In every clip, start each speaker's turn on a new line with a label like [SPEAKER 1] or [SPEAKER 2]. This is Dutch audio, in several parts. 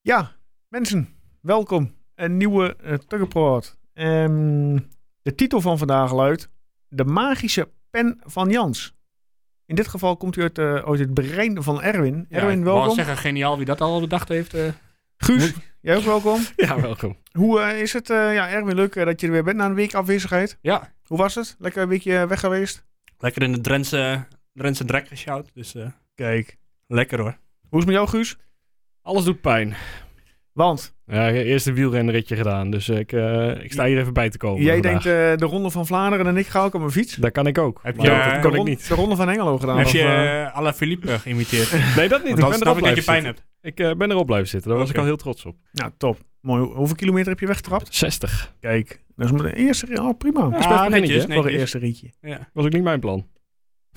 [SPEAKER 1] Ja, mensen, welkom. Een nieuwe uh, Tuggerport. Ehm, de titel van vandaag luidt De magische pen van Jans. In dit geval komt u uit, eh, uit het brein van Erwin. Erwin,
[SPEAKER 2] Ik wou
[SPEAKER 1] welkom.
[SPEAKER 2] zeggen, geniaal wie dat al bedacht heeft. eh.
[SPEAKER 1] Guus, jij ook welkom.
[SPEAKER 2] Ja, welkom.
[SPEAKER 1] Hoe eh, is het? eh, ja, Erwin, leuk eh, dat je er weer bent na een week afwezigheid.
[SPEAKER 2] Ja,
[SPEAKER 1] Hoe was het? Lekker een weekje eh, weg geweest?
[SPEAKER 2] lekker in de Drentse, Drentse drek gesjouwd. Dus eh,
[SPEAKER 1] Kijk.
[SPEAKER 2] lekker hoor.
[SPEAKER 1] Hoe is het met jou, Guus?
[SPEAKER 3] Alles doet pijn.
[SPEAKER 1] Want
[SPEAKER 3] Ja, ik heb eerst een wielrenritje gedaan, dus ik, eh, ik sta hier even bij te komen.
[SPEAKER 1] jij
[SPEAKER 3] vandaag.
[SPEAKER 1] denkt eh, de Ronde van Vlaanderen en ik ga ook op mijn fiets.
[SPEAKER 3] Dat kan ik ook.
[SPEAKER 2] Heb
[SPEAKER 3] maar
[SPEAKER 2] je-
[SPEAKER 3] dat kan
[SPEAKER 1] de
[SPEAKER 3] ik
[SPEAKER 1] ron-
[SPEAKER 3] niet.
[SPEAKER 1] De Ronde van Engelo gedaan.
[SPEAKER 2] Heb
[SPEAKER 1] of,
[SPEAKER 2] je
[SPEAKER 1] eh,
[SPEAKER 2] eh, à la Philippe geïmiteerd?
[SPEAKER 3] Nee, dat niet.
[SPEAKER 2] Want
[SPEAKER 3] Ik
[SPEAKER 2] dan
[SPEAKER 3] ben erop
[SPEAKER 2] snap ik dat je
[SPEAKER 3] blijven
[SPEAKER 2] pijn
[SPEAKER 3] zitten.
[SPEAKER 2] hebt.
[SPEAKER 3] Ik eh, ben erop blijven zitten. Daar was
[SPEAKER 2] Oké.
[SPEAKER 3] ik al heel trots op. Ah,
[SPEAKER 1] Nou, top. Mooi. Hoe- Hoeveel kilometer heb je weggetrapt?
[SPEAKER 3] 60.
[SPEAKER 1] Kijk. Dat is mijn eerste rit. Oh, prima.
[SPEAKER 3] Dat
[SPEAKER 1] Voor
[SPEAKER 3] is
[SPEAKER 2] Ah,
[SPEAKER 3] best een
[SPEAKER 2] netjes,
[SPEAKER 3] beginnetje, hè?
[SPEAKER 1] een
[SPEAKER 2] netjes.
[SPEAKER 1] eerste rietje.
[SPEAKER 2] Ja.
[SPEAKER 3] Was ook niet mijn plan.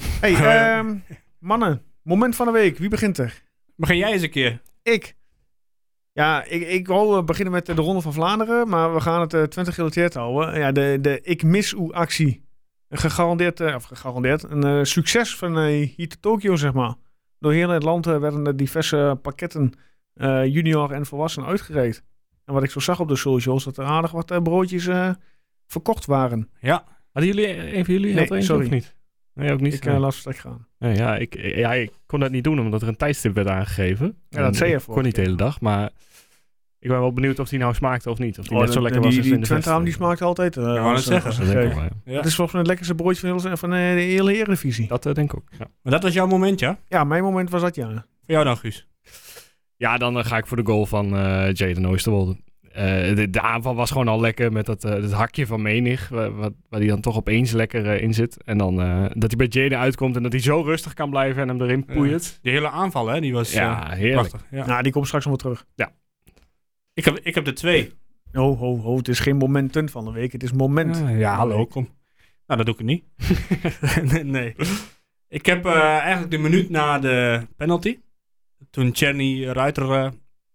[SPEAKER 1] hey,
[SPEAKER 2] Ja.
[SPEAKER 1] ehm, mannen. Moment van de week. Wie begint er?
[SPEAKER 2] Begin jij eens een keer.
[SPEAKER 1] Ik. Ja, ik, ik wil eh, beginnen met eh, de Ronde van Vlaanderen. Maar we gaan het eh, 20 gerelateerd houden. Ja, de, de Ik Mis U actie. Een Gegarandeerd, eh, of gegarandeerd, een eh, succes van eh, hier te Tokio, zeg maar. Door heel het land eh, werden er diverse pakketten eh, junior en volwassen uitgereed. En wat ik zo zag op de socials, dat er aardig wat eh, broodjes eh, verkocht waren.
[SPEAKER 2] Ja.
[SPEAKER 3] Hadden jullie, een van jullie
[SPEAKER 1] Nee,
[SPEAKER 3] had er eentje
[SPEAKER 1] sorry.
[SPEAKER 3] of niet? Nee, ook niet.
[SPEAKER 1] Ik
[SPEAKER 3] Nee.
[SPEAKER 1] eh, laat vertrek gaan.
[SPEAKER 3] Nee, ja, ik, ja, ik kon dat niet doen omdat er een tijdstip werd aangegeven.
[SPEAKER 1] Ja, dat
[SPEAKER 3] En
[SPEAKER 1] zei je
[SPEAKER 3] Ik
[SPEAKER 1] vorige
[SPEAKER 3] kon niet de
[SPEAKER 1] keer.
[SPEAKER 3] hele dag, maar ik ben wel benieuwd of die nou smaakte of niet. Of die
[SPEAKER 1] Oh,
[SPEAKER 3] net zo
[SPEAKER 1] dat-
[SPEAKER 3] lekker
[SPEAKER 1] die,
[SPEAKER 3] was als
[SPEAKER 1] Die,
[SPEAKER 3] in de
[SPEAKER 1] Twente ham, die
[SPEAKER 3] smaak.
[SPEAKER 1] smaakt altijd. eh,
[SPEAKER 2] wou
[SPEAKER 1] als-
[SPEAKER 2] net zeggen.
[SPEAKER 1] als
[SPEAKER 3] Dat
[SPEAKER 1] een
[SPEAKER 3] denk
[SPEAKER 1] gek.
[SPEAKER 3] ik wel, ja.
[SPEAKER 2] ja.
[SPEAKER 1] Het is volgens mij het lekkerste broodje van, heel- van eh, de hele Eredivisie.
[SPEAKER 3] Dat eh, denk ik ook. Ja.
[SPEAKER 2] Maar dat was jouw moment, ja?
[SPEAKER 1] Ja, mijn moment was dat, ja.
[SPEAKER 2] Voor jou dan, Guus.
[SPEAKER 3] Ja, dan eh, ga ik voor de goal van eh Jaden Oosterwolde. Eh, de, de aanval was gewoon al lekker met dat, eh, dat hakje van Menig, wa- wat, waar die dan toch opeens lekker eh, in zit. En dan eh, dat hij bij Jaden uitkomt en dat hij zo rustig kan blijven en hem erin
[SPEAKER 2] Ja.
[SPEAKER 3] poeit.
[SPEAKER 2] Die hele aanval, hè? Die was eh,
[SPEAKER 3] Ja, heerlijk.
[SPEAKER 2] prachtig. Ja.
[SPEAKER 1] Nou, die komt straks nog wel terug.
[SPEAKER 2] Ik, heb, ik heb de twee.
[SPEAKER 1] Ho, ho, ho. Het is geen momenten van de week. Het is moment.
[SPEAKER 2] Ja, Ah, ja, hallo, kom. Nou, dat doe ik niet. nee, nee. Ik heb eh, eigenlijk de minuut na de penalty, toen Cherny Ruiter eh,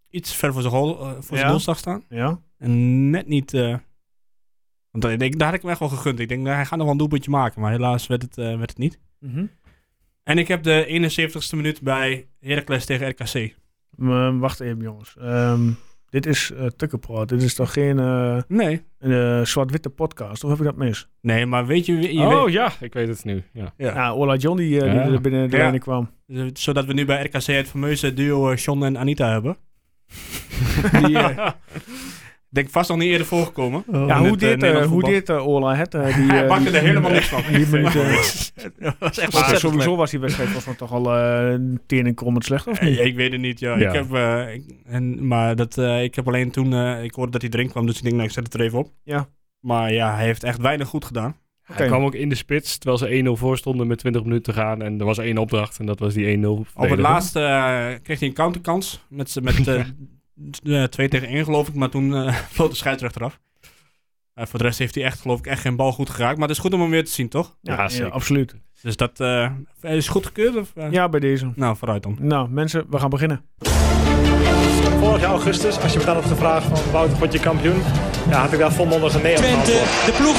[SPEAKER 2] iets ver voor zijn goal, eh, voor zijn
[SPEAKER 1] Ja.
[SPEAKER 2] doel zag staan.
[SPEAKER 1] Ja.
[SPEAKER 2] En net niet... eh, want ik denk, daar had ik hem echt wel gegund. Ik denk, nou, hij gaat nog wel een doelpuntje maken, maar helaas werd het, eh, werd het niet.
[SPEAKER 1] Mhm.
[SPEAKER 2] En ik heb de 71ste minuut bij Heracles tegen RKC.
[SPEAKER 1] Maar eh, wacht even, jongens. Ehm, dit is eh Tukkenpraat. Dit is toch geen eh,
[SPEAKER 2] Nee.
[SPEAKER 1] een, eh, zwart-witte podcast? Of heb ik dat mis?
[SPEAKER 2] Nee, maar weet je... je
[SPEAKER 3] oh
[SPEAKER 2] weet-
[SPEAKER 3] ja, ik weet het nu. Ja.
[SPEAKER 2] ja.
[SPEAKER 1] Ja, Ola John die, eh,
[SPEAKER 3] Ja.
[SPEAKER 1] die er binnen de
[SPEAKER 2] Ja.
[SPEAKER 1] lijnen kwam.
[SPEAKER 2] Dus, Zodat we nu bij RKC het fameuze duo eh, John en Anita hebben. Die, eh, denk vast nog niet eerder voorgekomen.
[SPEAKER 1] ja, hoe
[SPEAKER 2] in het, eh,
[SPEAKER 1] deed, eh,
[SPEAKER 2] Nederlands
[SPEAKER 1] hoe
[SPEAKER 2] voetbal.
[SPEAKER 1] deed eh, Ola het? eh, die,
[SPEAKER 2] Hij
[SPEAKER 1] eh,
[SPEAKER 2] pakte
[SPEAKER 1] die-
[SPEAKER 2] er helemaal niks van.
[SPEAKER 1] die minuut, eh,
[SPEAKER 2] Dat was echt
[SPEAKER 1] Maar
[SPEAKER 2] ontzettend
[SPEAKER 1] sowieso
[SPEAKER 2] slecht.
[SPEAKER 1] was die wedstrijd volgens mij toch al eh tenen krommend slecht, of niet?
[SPEAKER 2] Eh, Ik weet het niet, ja.
[SPEAKER 3] Ja.
[SPEAKER 2] Ik heb, eh, ik- en, maar dat, eh, ik heb alleen toen... eh, ik hoorde dat hij erin kwam, dus ik denk, nou, ik zet het er even op.
[SPEAKER 1] Ja.
[SPEAKER 2] Maar ja, hij heeft echt weinig goed gedaan.
[SPEAKER 1] Oké.
[SPEAKER 3] Hij kwam ook in de spits, terwijl ze 1-0 voor stonden met 20 minuten te gaan. En er was één opdracht en dat was die 1-0.
[SPEAKER 2] Op het
[SPEAKER 3] verdedigen.
[SPEAKER 2] laatst eh, kreeg hij een counterkans. Met, z'n- met eh, t- eh, twee tegen één, geloof ik. Maar toen eh vloot de scheidsrechter af. Eh, voor de rest heeft hij echt, geloof ik, echt geen bal goed geraakt. Maar het is goed om hem weer te zien, toch?
[SPEAKER 3] Ja, zeker.
[SPEAKER 1] absoluut.
[SPEAKER 2] Dus dat... eh, hij is goed gekeurd? Of, eh?
[SPEAKER 1] Ja, bij deze.
[SPEAKER 2] Nou, vooruit dan.
[SPEAKER 1] Nou, mensen, we gaan beginnen.
[SPEAKER 4] Vorig jaar augustus, als je me dan had gevraagd van Wouter, word je kampioen? Ja, had ik daar volmondig een nee op
[SPEAKER 5] Twente,
[SPEAKER 4] geantwoord.
[SPEAKER 5] de ploeg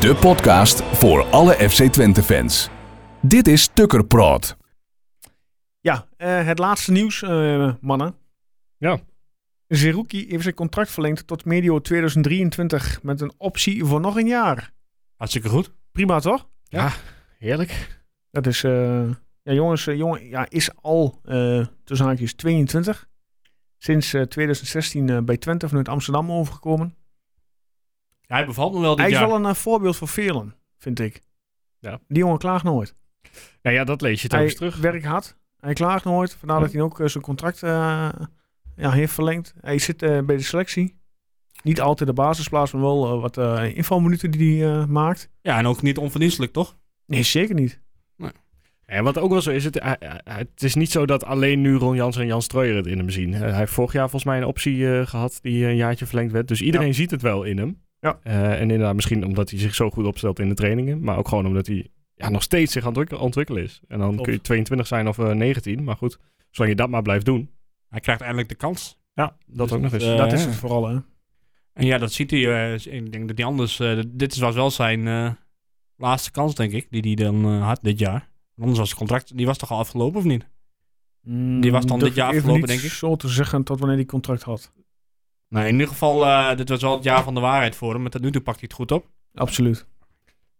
[SPEAKER 6] De podcast voor alle FC Twente fans. Dit is Tukker Praat.
[SPEAKER 1] Ja, eh, het laatste nieuws, eh, mannen.
[SPEAKER 3] Ja.
[SPEAKER 1] Zerouki heeft zijn contract verlengd tot medio 2023 met een optie voor nog een jaar.
[SPEAKER 2] Hartstikke goed.
[SPEAKER 1] Prima, toch?
[SPEAKER 3] Heerlijk.
[SPEAKER 1] Dat is, eh, ja jongens, eh, jongen ja, is al, eh tussen haakjes, 22. Sinds eh, 2016 eh, bij Twente vanuit Amsterdam overgekomen.
[SPEAKER 2] Ja, hij bevalt me wel dit
[SPEAKER 1] Hij is
[SPEAKER 2] jaar.
[SPEAKER 1] wel een eh, voorbeeld voor velen, vind ik.
[SPEAKER 3] Ja.
[SPEAKER 1] Die jongen klaagt nooit.
[SPEAKER 3] Nou ja, dat lees je
[SPEAKER 1] hij
[SPEAKER 3] telkens terug.
[SPEAKER 1] werk had. Hij klaagt nooit. Vandaar dat hij ook eh, zijn contract eh, ja, heeft verlengd. Hij zit eh, bij de selectie. Niet altijd de basisplaats, maar wel eh, wat eh, invalminuten die hij eh, maakt.
[SPEAKER 2] Ja, en ook niet onverdienstelijk, toch?
[SPEAKER 1] Nee, zeker niet.
[SPEAKER 3] En wat ook wel zo is, het, hij- hij- het is niet zo dat alleen nu Ron Jans en Jan Streuer het in hem zien. Eh, hij heeft vorig jaar volgens mij een optie eh, gehad die een jaartje verlengd werd. Dus iedereen ziet het wel in hem.
[SPEAKER 1] Ja.
[SPEAKER 3] Eh, en inderdaad, misschien omdat hij zich zo goed opstelt in de trainingen. Maar ook gewoon omdat hij ja, nog steeds zich aan het ontwik- ontwikkelen is. En dan
[SPEAKER 2] Klopt.
[SPEAKER 3] kun je 22 zijn of eh, 19. Maar goed, zolang je dat maar blijft doen.
[SPEAKER 2] Hij krijgt eindelijk de kans.
[SPEAKER 3] Ja, dat
[SPEAKER 2] Dus
[SPEAKER 3] ook nog eens.
[SPEAKER 2] eh,
[SPEAKER 1] dat is
[SPEAKER 2] ja.
[SPEAKER 1] het vooral, hè.
[SPEAKER 2] En ja, dat ziet hij. eh, ik denk dat hij anders... eh, dit was wel zijn eh, laatste kans, denk ik, die hij dan eh, had dit jaar. Anders was het contract... Die was toch al afgelopen, of niet? Die was dan
[SPEAKER 1] Mm, Durf
[SPEAKER 2] dit jaar
[SPEAKER 1] ik even
[SPEAKER 2] afgelopen,
[SPEAKER 1] niet
[SPEAKER 2] denk ik.
[SPEAKER 1] zo te zeggen tot wanneer die contract had.
[SPEAKER 2] Nou, in ieder geval, eh, dit was wel het jaar van de waarheid voor hem. Maar tot nu toe pakt hij het goed op.
[SPEAKER 1] Absoluut.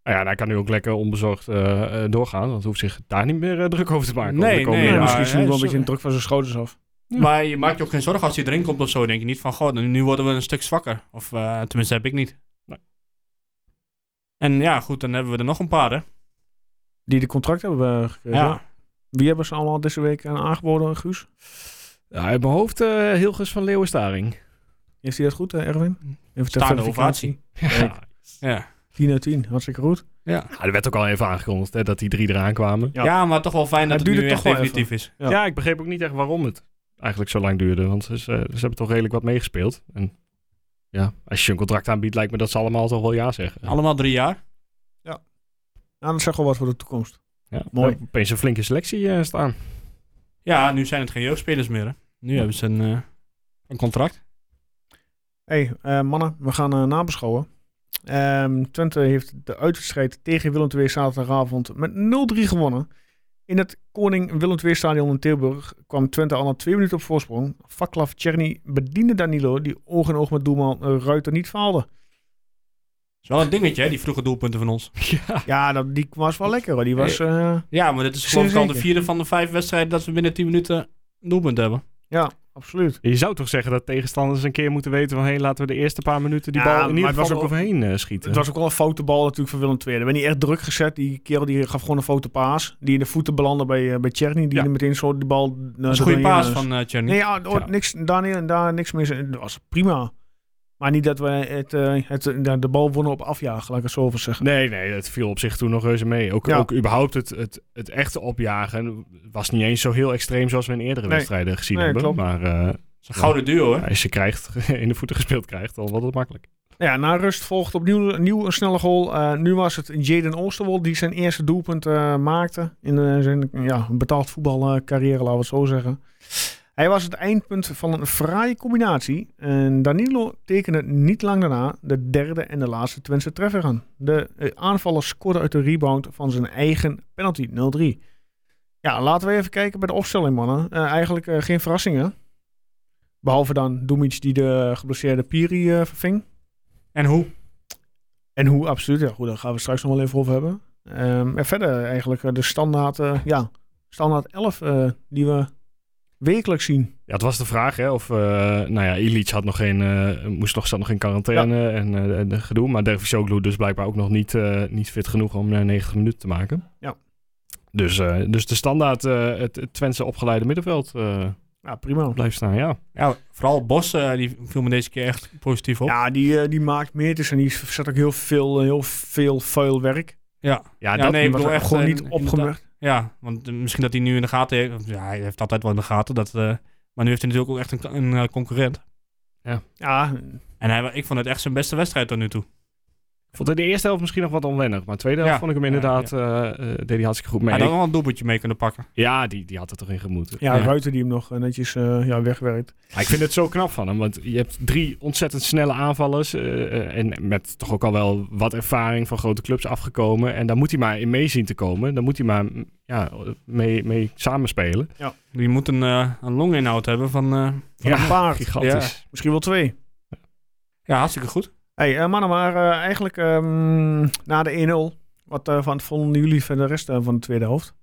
[SPEAKER 3] Nou ja, daar kan hij ook lekker onbezorgd eh, eh, doorgaan. Want hoeft zich daar niet meer eh, druk over te maken.
[SPEAKER 2] Nee,
[SPEAKER 3] over de komende
[SPEAKER 2] nee,
[SPEAKER 1] Ja,
[SPEAKER 2] maar-
[SPEAKER 3] jaren.
[SPEAKER 1] misschien is hij nu wel een
[SPEAKER 2] zo-
[SPEAKER 1] beetje een druk van zijn schouders af.
[SPEAKER 2] Maar je maakt je ook geen zorgen als hij erin komt of zo. Denk je niet van, goh, nu worden we een stuk zwakker. Of eh, tenminste heb ik niet.
[SPEAKER 3] Nee.
[SPEAKER 2] En ja, goed, dan hebben we er nog een paar, hè.
[SPEAKER 1] Die de contract hebben eh, gekregen. Wie hebben ze allemaal deze week eh, aangeboden, Guus?
[SPEAKER 3] Ja, uit mijn hoofd eh Hilgers van Leeuwenstaring.
[SPEAKER 1] Is die dat goed, eh, Erwin? Even ter
[SPEAKER 2] Staande
[SPEAKER 1] verificatie.
[SPEAKER 2] ovatie.
[SPEAKER 1] Kijk,
[SPEAKER 2] Ja.
[SPEAKER 1] 10 uit 10, hartstikke goed.
[SPEAKER 3] Ja, er werd ook al even aangekondigd hè, dat die drie eraan kwamen.
[SPEAKER 1] Ja.
[SPEAKER 2] Ja. maar toch wel fijn dat
[SPEAKER 1] Het
[SPEAKER 2] het, nu
[SPEAKER 1] duurde
[SPEAKER 2] echt
[SPEAKER 1] toch wel
[SPEAKER 2] definitief is.
[SPEAKER 1] Ja.
[SPEAKER 3] Ja. ik begreep ook niet echt waarom het eigenlijk zo lang duurde. Want ze, ze ze hebben toch redelijk wat meegespeeld. En ja, als je een contract aanbiedt, lijkt me dat ze allemaal toch wel ja zeggen.
[SPEAKER 2] Allemaal drie jaar.
[SPEAKER 1] Nou, dat zegt wel wat voor de toekomst.
[SPEAKER 3] ja,
[SPEAKER 1] mooi.
[SPEAKER 3] we hebben Opeens een flinke selectie eh, staan.
[SPEAKER 2] Ja, nu zijn het geen jeugdspelers meer, hè. Nu hebben ze een, eh, een contract.
[SPEAKER 1] hey, eh, mannen, we gaan eh, nabeschouwen. Ehm, Twente heeft de uitwedstrijd tegen Willem II zaterdagavond met 0-3 gewonnen. In het Koning Willem II stadion in Tilburg kwam Twente al na twee minuten op voorsprong. Vaklav Czerny bediende Danilo, die oog in oog met doelman eh, Ruiter niet faalde.
[SPEAKER 2] is wel een dingetje, hè, die vroege doelpunten van ons.
[SPEAKER 1] Ja, dat, die was wel lekker hoor. Die was, eh,
[SPEAKER 2] Ja, maar dit is geloof ik al de
[SPEAKER 1] Zeker.
[SPEAKER 2] vierde van de vijf wedstrijden dat we binnen tien minuten een doelpunt hebben.
[SPEAKER 1] ja, absoluut.
[SPEAKER 3] Je zou toch zeggen dat tegenstanders een keer moeten weten van... hé, laten we de eerste paar minuten die
[SPEAKER 1] Ja,
[SPEAKER 3] bal in
[SPEAKER 1] maar
[SPEAKER 3] ieder
[SPEAKER 1] het was
[SPEAKER 3] geval
[SPEAKER 1] ook-
[SPEAKER 3] overheen eh, schieten.
[SPEAKER 1] Het was ook wel een foute bal natuurlijk van Willem II. Daar ben je echt druk gezet. Die kerel die gaf gewoon een foute paas. Die in de voeten belandde bij, eh bij Tjerni. Die
[SPEAKER 3] Ja.
[SPEAKER 1] er meteen zo de bal... naar
[SPEAKER 2] Dat is een goede paas van eh Tjerni.
[SPEAKER 1] Nee, ja, hoor,
[SPEAKER 3] Ja.
[SPEAKER 1] Niks, daar, ni- daar niks meer. Dat was prima. Maar niet dat we het, eh, het, eh, de bal wonnen op afjagen, laat ik het zo over zeggen.
[SPEAKER 3] Nee, nee, het viel op zich toen nog reuze mee. Ook,
[SPEAKER 1] Ja.
[SPEAKER 3] ook überhaupt het, het, het echte opjagen was niet eens zo heel extreem zoals we in eerdere
[SPEAKER 1] Nee.
[SPEAKER 3] wedstrijden gezien
[SPEAKER 1] Nee,
[SPEAKER 3] hebben.
[SPEAKER 1] klopt.
[SPEAKER 3] Maar eh,
[SPEAKER 2] Dat is een gouden duo, hè.
[SPEAKER 3] als je krijgt, in de voeten gespeeld krijgt, dan wordt het makkelijk.
[SPEAKER 1] Nou ja, na rust volgt opnieuw opnieuw een snelle goal. Eh, nu was het Jaden Oosterwold die zijn eerste doelpunt eh, maakte. In eh, zijn ja, betaald voetbalcarrière, laten we het zo zeggen. Hij was het eindpunt van een fraaie combinatie. En Danilo tekende niet lang daarna de derde en de laatste Twentse treffer aan. De eh, aanvaller scoorde uit de rebound van zijn eigen penalty 0-3. Ja, laten we even kijken bij de opstelling, mannen. Eh, eigenlijk eh, geen verrassingen. Behalve dan Dumic die de geblesseerde Piri eh, verving.
[SPEAKER 2] En hoe?
[SPEAKER 1] En hoe absoluut, ja goed, daar gaan we straks nog wel even over hebben. Ehm, en verder eigenlijk eh, de standaard, eh, ja, standaard 11 eh, die we wekelijks zien.
[SPEAKER 3] Ja, het was de vraag hè, of, eh, nou ja, Illich had nog geen, eh, moest nog, zat nog in quarantaine en eh, en gedoe. Maar Dervisoglu dus blijkbaar ook nog niet, eh, niet fit genoeg om eh, 90 minuten te maken.
[SPEAKER 1] Ja.
[SPEAKER 3] Dus, eh, dus de standaard, eh, het, het Twentse opgeleide middenveld eh,
[SPEAKER 1] Ja, prima.
[SPEAKER 3] blijft staan, ja.
[SPEAKER 2] Ja, vooral Bos, eh, die viel me deze keer echt positief op.
[SPEAKER 1] Ja, die, eh, die maakt meters en die zet ook heel veel, eh, heel veel vuil werk.
[SPEAKER 3] Ja,
[SPEAKER 2] Ja, nee, ik
[SPEAKER 1] was
[SPEAKER 2] bedoel echt...
[SPEAKER 1] gewoon
[SPEAKER 2] eh,
[SPEAKER 1] niet opgemerkt.
[SPEAKER 2] Ja, want eh, misschien dat hij nu in de gaten heeft. Ja, hij heeft altijd wel in de gaten. Dat, eh, maar nu heeft hij natuurlijk ook echt een, een eh, concurrent.
[SPEAKER 1] Ja,
[SPEAKER 2] En hij, ik vond het echt zijn beste wedstrijd tot nu toe.
[SPEAKER 3] Ik vond het in de eerste helft misschien nog wat onwennig. Maar de tweede helft
[SPEAKER 2] Ja.
[SPEAKER 3] vond ik hem
[SPEAKER 2] Ja,
[SPEAKER 3] inderdaad, eh, eh, deed hij hartstikke goed mee.
[SPEAKER 2] hij had ook nog wel een doelpuntje mee kunnen pakken.
[SPEAKER 3] Ja, die, die had het toch in gemoeten.
[SPEAKER 1] ja,
[SPEAKER 2] Ja.
[SPEAKER 1] Ruiter die hem nog eh, netjes eh, ja, wegwerkt.
[SPEAKER 3] Maar ik vind het zo knap van hem, want je hebt drie ontzettend snelle aanvallers. eh, eh, en met toch ook al wel wat ervaring van grote clubs afgekomen. En daar moet hij maar in mee zien te komen. Daar moet hij maar mm, ja, mee, mee samenspelen.
[SPEAKER 2] Die moet een, eh een longinhoud hebben van... eh,
[SPEAKER 1] Van een paard.
[SPEAKER 3] gigantisch.
[SPEAKER 1] Misschien wel twee.
[SPEAKER 2] ja, hartstikke goed.
[SPEAKER 1] Hey, eh, mannen, maar eh, eigenlijk ehm, na de 1-0, wat eh, van vonden jullie van de rest eh, van de tweede helft?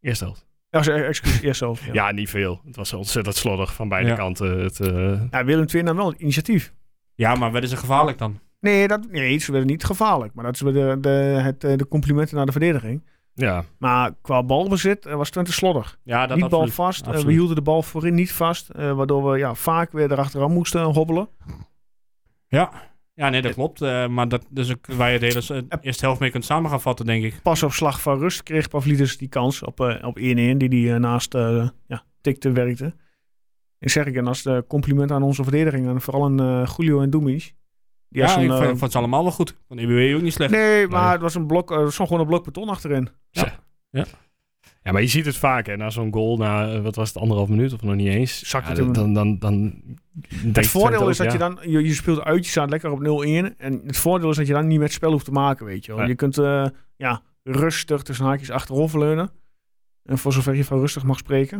[SPEAKER 3] Eerste helft.
[SPEAKER 1] Ja, sorry, excuus, eerste helft.
[SPEAKER 3] Ja.
[SPEAKER 1] Ja.
[SPEAKER 3] niet veel. Het was ontzettend slordig van beide
[SPEAKER 2] Ja.
[SPEAKER 3] kanten. Het, eh,
[SPEAKER 1] Ja, Willem II nam wel het initiatief.
[SPEAKER 2] Ja, maar werden ze gevaarlijk dan?
[SPEAKER 1] Nee, dat, nee, ze werden niet gevaarlijk. Maar dat is weer de, de, het, eh, de complimenten naar de verdediging.
[SPEAKER 3] ja.
[SPEAKER 1] Maar qua balbezit eh, was Twente slordig.
[SPEAKER 2] Ja, dat
[SPEAKER 1] niet bal
[SPEAKER 2] absoluut.
[SPEAKER 1] vast. eh, we
[SPEAKER 2] Absoluut.
[SPEAKER 1] hielden de bal voorin niet vast. eh, waardoor we ja, vaak weer erachteraan moesten hobbelen.
[SPEAKER 2] Ja. Ja, nee, dat klopt. eh, maar dat is ook waar je de hele s- eh, eerste helft mee kunt samen gaan vatten, denk ik.
[SPEAKER 1] Pas op slag van rust kreeg Pavlidis die kans op, eh, op 1-1 die die eh, naast eh, ja, tikte werkte. Ik zeg ik, en als eh, compliment aan onze verdediging, en vooral aan eh, Julio en Dumis. Die had
[SPEAKER 2] ja,
[SPEAKER 1] zo'n,
[SPEAKER 2] ik
[SPEAKER 1] eh,
[SPEAKER 2] vond, vond ze allemaal wel goed. Van EBW ook niet slecht.
[SPEAKER 1] nee, maar
[SPEAKER 3] Nee.
[SPEAKER 1] het was een blok, eh, er stond gewoon een blok beton achterin.
[SPEAKER 3] Ja, maar je ziet het vaak, hè. Na zo'n goal, na, eh, wat was het, anderhalf minuut of nog niet eens.
[SPEAKER 1] Zakt
[SPEAKER 3] ja,
[SPEAKER 1] het hem.
[SPEAKER 3] dan, dan, dan
[SPEAKER 1] Het voordeel is dat je dan, je, je speelt uit, je staat lekker op 0-1. En het voordeel is dat je dan niet met spel hoeft te maken, weet je wel.
[SPEAKER 3] Ja.
[SPEAKER 1] Je kunt eh, ja, rustig tussen haakjes achteroverleunen. En voor zover je van rustig mag spreken.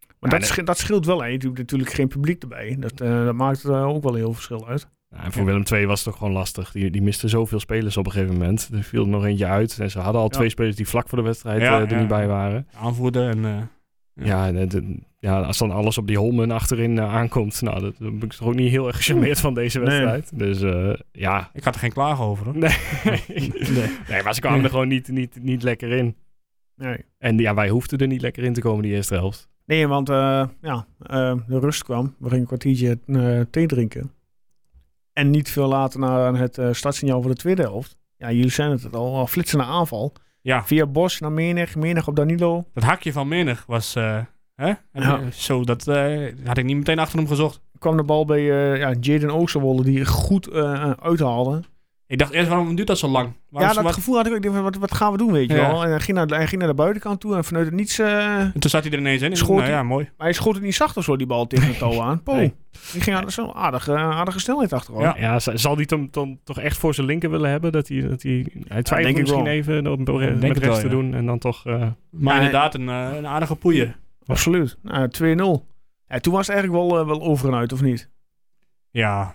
[SPEAKER 1] Maar dat,
[SPEAKER 3] Ja, nee.
[SPEAKER 1] sche- dat scheelt wel, hè. Je doet natuurlijk geen publiek erbij. Dat, eh, dat maakt eh, ook wel heel veel verschil uit.
[SPEAKER 3] Ja, en voor Willem II was het toch gewoon lastig. Die, die misten zoveel spelers op een gegeven moment. Er viel er nog eentje uit. En ze hadden al
[SPEAKER 1] Ja.
[SPEAKER 3] twee spelers die vlak voor de wedstrijd
[SPEAKER 2] Ja,
[SPEAKER 3] eh, er
[SPEAKER 2] ja.
[SPEAKER 3] niet bij waren.
[SPEAKER 2] Aanvoerder en... eh,
[SPEAKER 3] Ja, en, en- ja, als dan alles op die Holmen achterin eh, aankomt. Nou, dat, daar ben ik toch ook niet heel erg gecharmeerd van deze
[SPEAKER 1] Nee.
[SPEAKER 3] wedstrijd. Dus eh, ja.
[SPEAKER 2] ik had er geen klagen over, hoor.
[SPEAKER 3] nee. maar ze kwamen er gewoon niet, niet, niet lekker in.
[SPEAKER 1] Nee,
[SPEAKER 3] En ja, wij hoefden er niet lekker in te komen die eerste helft.
[SPEAKER 1] nee want eh, ja, eh, de rust kwam. We gingen een kwartiertje eh, thee drinken. En niet veel later na het eh, startsignaal voor de tweede helft. Ja, jullie zijn het al, al flitsende aanval.
[SPEAKER 2] Ja,
[SPEAKER 1] Via Bos naar Menig, Menig op Danilo.
[SPEAKER 2] dat hakje van Menig was... eh, hè?
[SPEAKER 1] Ja.
[SPEAKER 2] Zo, dat eh, had ik niet meteen achter hem gezocht.
[SPEAKER 1] kwam de bal bij eh, ja, Jaden Oosterwolde die goed eh, eh, uithaalde.
[SPEAKER 2] Ik dacht eerst, waarom duurt dat zo lang? Waarom
[SPEAKER 1] ja,
[SPEAKER 2] is-
[SPEAKER 1] dat
[SPEAKER 2] wat-
[SPEAKER 1] gevoel had ik ook. Ik dacht, Wat, wat gaan we doen, weet je
[SPEAKER 2] Ja.
[SPEAKER 1] wel? En hij ging, naar, de- hij ging naar de buitenkant toe en vanuit het niets... eh,
[SPEAKER 2] En toen zat hij er ineens in. Ik
[SPEAKER 1] Schoot
[SPEAKER 2] dacht, Nou
[SPEAKER 1] hij-
[SPEAKER 2] ja, mooi.
[SPEAKER 1] maar hij schoot het niet zacht of zo, die bal tegen het touw aan. Poh,
[SPEAKER 2] Nee.
[SPEAKER 1] die ging aan zo'n aardige, aardige snelheid achterover.
[SPEAKER 2] Ja.
[SPEAKER 3] Ja, z- zal die hem dan toch echt voor zijn linker willen hebben? Dat hij, dat hij, hij twijfelt
[SPEAKER 1] ik
[SPEAKER 3] misschien
[SPEAKER 1] wel.
[SPEAKER 3] even om
[SPEAKER 2] denk
[SPEAKER 3] met
[SPEAKER 2] het
[SPEAKER 3] rechts
[SPEAKER 2] wel,
[SPEAKER 3] te
[SPEAKER 2] ja.
[SPEAKER 3] doen. En dan toch... eh,
[SPEAKER 2] Maar
[SPEAKER 1] Ja,
[SPEAKER 2] inderdaad, een, eh, een aardige poeier.
[SPEAKER 1] Absoluut. Nou, 2-0. Ja, toen was het eigenlijk wel, eh, wel over en uit, of niet?
[SPEAKER 2] Ja.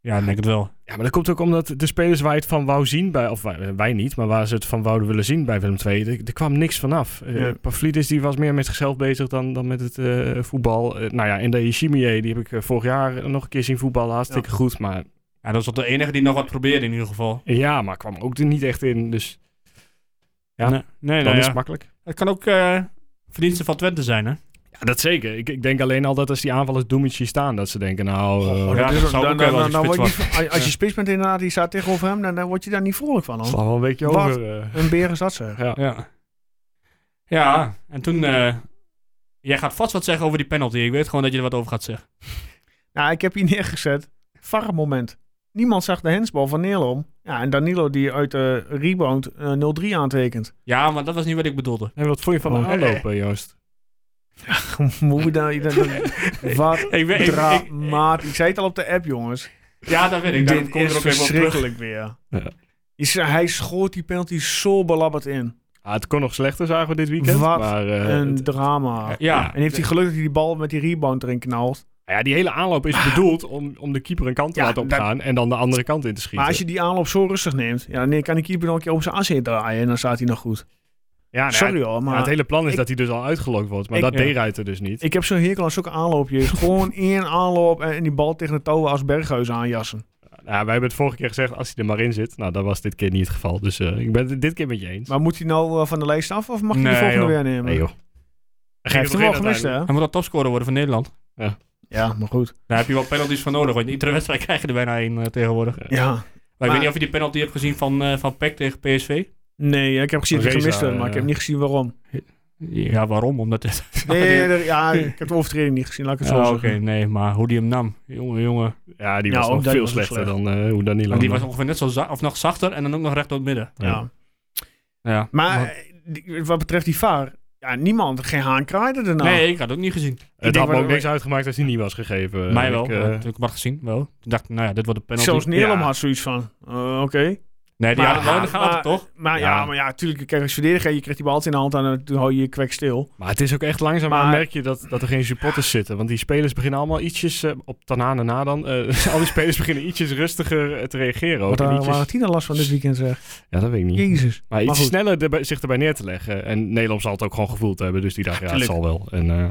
[SPEAKER 2] Ja, ik denk het wel.
[SPEAKER 3] Ja, maar dat komt ook omdat de spelers waar je het van wou zien, bij, of wij, wij niet, maar waar ze het van wouden willen zien bij Willem II, er, er kwam niks vanaf. Eh
[SPEAKER 1] Ja.
[SPEAKER 3] Pavlidis die was meer met zichzelf bezig dan, dan met het eh, voetbal. Eh, nou ja, en de Ishimie, die heb ik eh, vorig jaar nog een keer zien voetballen, hartstikke goed. Maar
[SPEAKER 2] Ja, dat was toch de enige die nog wat probeerde in ieder geval.
[SPEAKER 3] ja, maar kwam ook er niet echt in, dus Ja.
[SPEAKER 2] Nee, nee,
[SPEAKER 3] dan
[SPEAKER 2] nou
[SPEAKER 3] is
[SPEAKER 2] ja.
[SPEAKER 3] het makkelijk.
[SPEAKER 2] Het kan ook eh, verdiensten van Twente zijn, hè?
[SPEAKER 3] Ja, dat zeker. Ik, ik denk alleen al dat als die aanvallers Doemici staan, dat ze denken, nou...
[SPEAKER 1] Oh,
[SPEAKER 3] eh,
[SPEAKER 2] ja, dat zou ook wel als je
[SPEAKER 1] word je
[SPEAKER 2] spits
[SPEAKER 1] niet- als- Als je spits bent inderdaad, die staat tegenover hem, dan, dan word je daar niet vrolijk van. Hoor.
[SPEAKER 3] slaan we wel een beetje
[SPEAKER 1] Wat?
[SPEAKER 3] over. eh.
[SPEAKER 1] Een beer is dat, zeg.
[SPEAKER 3] ja.
[SPEAKER 2] Ja. Ja, en toen... eh, jij gaat vast wat zeggen over die penalty. Ik weet gewoon dat je er wat over gaat zeggen.
[SPEAKER 1] Nou, ik heb hier neergezet. VAR moment. Niemand zag de hensbal van Nelom. Ja, en Danilo die uit de rebound eh, 0-3 aantekent.
[SPEAKER 2] Ja, maar dat was niet wat ik bedoelde.
[SPEAKER 3] En wat vond je van
[SPEAKER 1] Oh.
[SPEAKER 3] de aanloop, eh, Joost?
[SPEAKER 1] Hoe dan? ik denk dat- Wat
[SPEAKER 2] Ik weet- ik- ik-
[SPEAKER 1] dramatisch. Ik zei het al op de app, jongens.
[SPEAKER 2] Ja, dat weet ik. Daarom
[SPEAKER 1] Dit
[SPEAKER 2] kom ik
[SPEAKER 1] is
[SPEAKER 2] er ook even op terug.
[SPEAKER 1] verschrikkelijk weer.
[SPEAKER 3] Ja.
[SPEAKER 1] Je zag- Hij schoot die penalty zo belabberd in.
[SPEAKER 3] Ah, het kon nog slechter, zagen we dit weekend.
[SPEAKER 1] Wat
[SPEAKER 3] maar, eh,
[SPEAKER 1] een
[SPEAKER 3] het-
[SPEAKER 1] drama.
[SPEAKER 2] Ja,
[SPEAKER 1] En heeft hij geluk dat hij die bal met die rebound erin knalt.
[SPEAKER 3] Nou Ja, die hele aanloop is bedoeld om, om de keeper een kant te
[SPEAKER 1] Ja,
[SPEAKER 3] laten
[SPEAKER 1] dat-
[SPEAKER 3] opgaan en dan de andere kant in te schieten.
[SPEAKER 1] Maar als je die aanloop zo rustig neemt, ja, dan kan die keeper nog een keer op zijn as heen draaien en dan staat hij nog goed.
[SPEAKER 3] ja, nou ja,
[SPEAKER 1] Sorry
[SPEAKER 3] het-
[SPEAKER 1] hoor,
[SPEAKER 3] ja,
[SPEAKER 1] maar...
[SPEAKER 3] het hele plan is
[SPEAKER 1] ik-
[SPEAKER 3] dat hij dus al uitgelokt wordt, maar
[SPEAKER 1] Ik-
[SPEAKER 3] dat
[SPEAKER 2] ja.
[SPEAKER 3] deed Ruiter dus niet.
[SPEAKER 1] Ik heb zo'n hekel aan zulke aanloopjes. Gewoon één aanloop en, en die bal tegen de touwen als Berghuis aanjassen.
[SPEAKER 3] Nou, wij hebben het vorige keer gezegd, als hij er maar in zit, nou, dat was dit keer niet het geval. Dus eh, ik ben het dit keer met je eens.
[SPEAKER 1] Maar moet hij nou eh, van de lijst af of mag hij
[SPEAKER 2] Nee,
[SPEAKER 1] de volgende
[SPEAKER 2] joh.
[SPEAKER 1] weer nemen?
[SPEAKER 3] nee, joh.
[SPEAKER 1] Hij heeft hem wel gemist, hè?
[SPEAKER 2] hij moet al topscorer worden van Nederland.
[SPEAKER 1] Ja, maar goed.
[SPEAKER 2] Daar heb je wel penalties van nodig. Want in iedere wedstrijd krijg je er bijna één eh, tegenwoordig. Maar,
[SPEAKER 1] Ja.
[SPEAKER 2] ik
[SPEAKER 1] Maar-
[SPEAKER 2] weet niet of je die penalty hebt gezien van, eh van Peck tegen PSV.
[SPEAKER 1] Nee, ik heb gezien dat hij
[SPEAKER 3] Reza,
[SPEAKER 1] gemist had, maar ik
[SPEAKER 3] eh,
[SPEAKER 1] heb niet gezien waarom.
[SPEAKER 2] Ja, waarom? Omdat het...
[SPEAKER 1] Nee, er- ja, ik heb de overtreding niet gezien, laat ik het zo
[SPEAKER 2] Oh, Oké,
[SPEAKER 1] zeggen.
[SPEAKER 2] nee, maar hoe die hem nam. Jongen, jongen.
[SPEAKER 3] Ja, die
[SPEAKER 1] Ja,
[SPEAKER 3] was
[SPEAKER 1] Nou, ook
[SPEAKER 3] nog
[SPEAKER 1] dat
[SPEAKER 3] veel
[SPEAKER 1] was
[SPEAKER 3] slechter
[SPEAKER 1] slecht.
[SPEAKER 3] dan eh, hoe Danilo.
[SPEAKER 2] Want die
[SPEAKER 3] nog-
[SPEAKER 2] was ongeveer net zo za- of nog zachter en dan ook nog recht door het midden.
[SPEAKER 1] Ja.
[SPEAKER 2] Ja.
[SPEAKER 1] Maar eh, die- wat betreft die VAR, ja, niemand, geen haan kraaide daarna.
[SPEAKER 2] nee, ik had het ook niet gezien.
[SPEAKER 1] ik
[SPEAKER 3] het
[SPEAKER 1] denk
[SPEAKER 3] had me
[SPEAKER 1] wel-
[SPEAKER 3] ook niks uitgemaakt als hij niet was gegeven.
[SPEAKER 2] Mij
[SPEAKER 3] Ik,
[SPEAKER 2] wel.
[SPEAKER 3] eh,
[SPEAKER 2] maar toen ik hem had gezien, wel. Toen dacht ik, nou ja, dit wordt een penalty.
[SPEAKER 1] Zelfs Nederland
[SPEAKER 3] Ja.
[SPEAKER 1] had zoiets van, eh, oké.
[SPEAKER 2] Nee, die
[SPEAKER 1] Maar-
[SPEAKER 2] hadden wel in de
[SPEAKER 1] maar-
[SPEAKER 2] gaten, toch?
[SPEAKER 1] Maar ja.
[SPEAKER 3] Ja.
[SPEAKER 1] maar ja, natuurlijk, kijk, als verdediger, je krijgt die bal altijd in de hand en eh, toen hou je je kwek stil.
[SPEAKER 3] Maar het is ook echt langzaam maar...
[SPEAKER 1] Maar-
[SPEAKER 3] merk je dat, dat er geen supporters zitten. Want die spelers beginnen allemaal ietsjes, eh, op Tanane na dan, eh, al die spelers beginnen ietsjes rustiger eh, te reageren. Ook.
[SPEAKER 1] Wat
[SPEAKER 3] En
[SPEAKER 1] daar
[SPEAKER 3] ietsjes-
[SPEAKER 1] waren die dan last van dit weekend, zeg.
[SPEAKER 3] Ja, dat weet ik niet.
[SPEAKER 1] Jezus.
[SPEAKER 3] Maar iets
[SPEAKER 1] goed.
[SPEAKER 3] sneller erbij- zich erbij neer te leggen. En Nederland zal het ook gewoon gevoeld hebben. Dus die dacht, ja, het
[SPEAKER 1] tuurlijk.
[SPEAKER 3] zal wel. En eh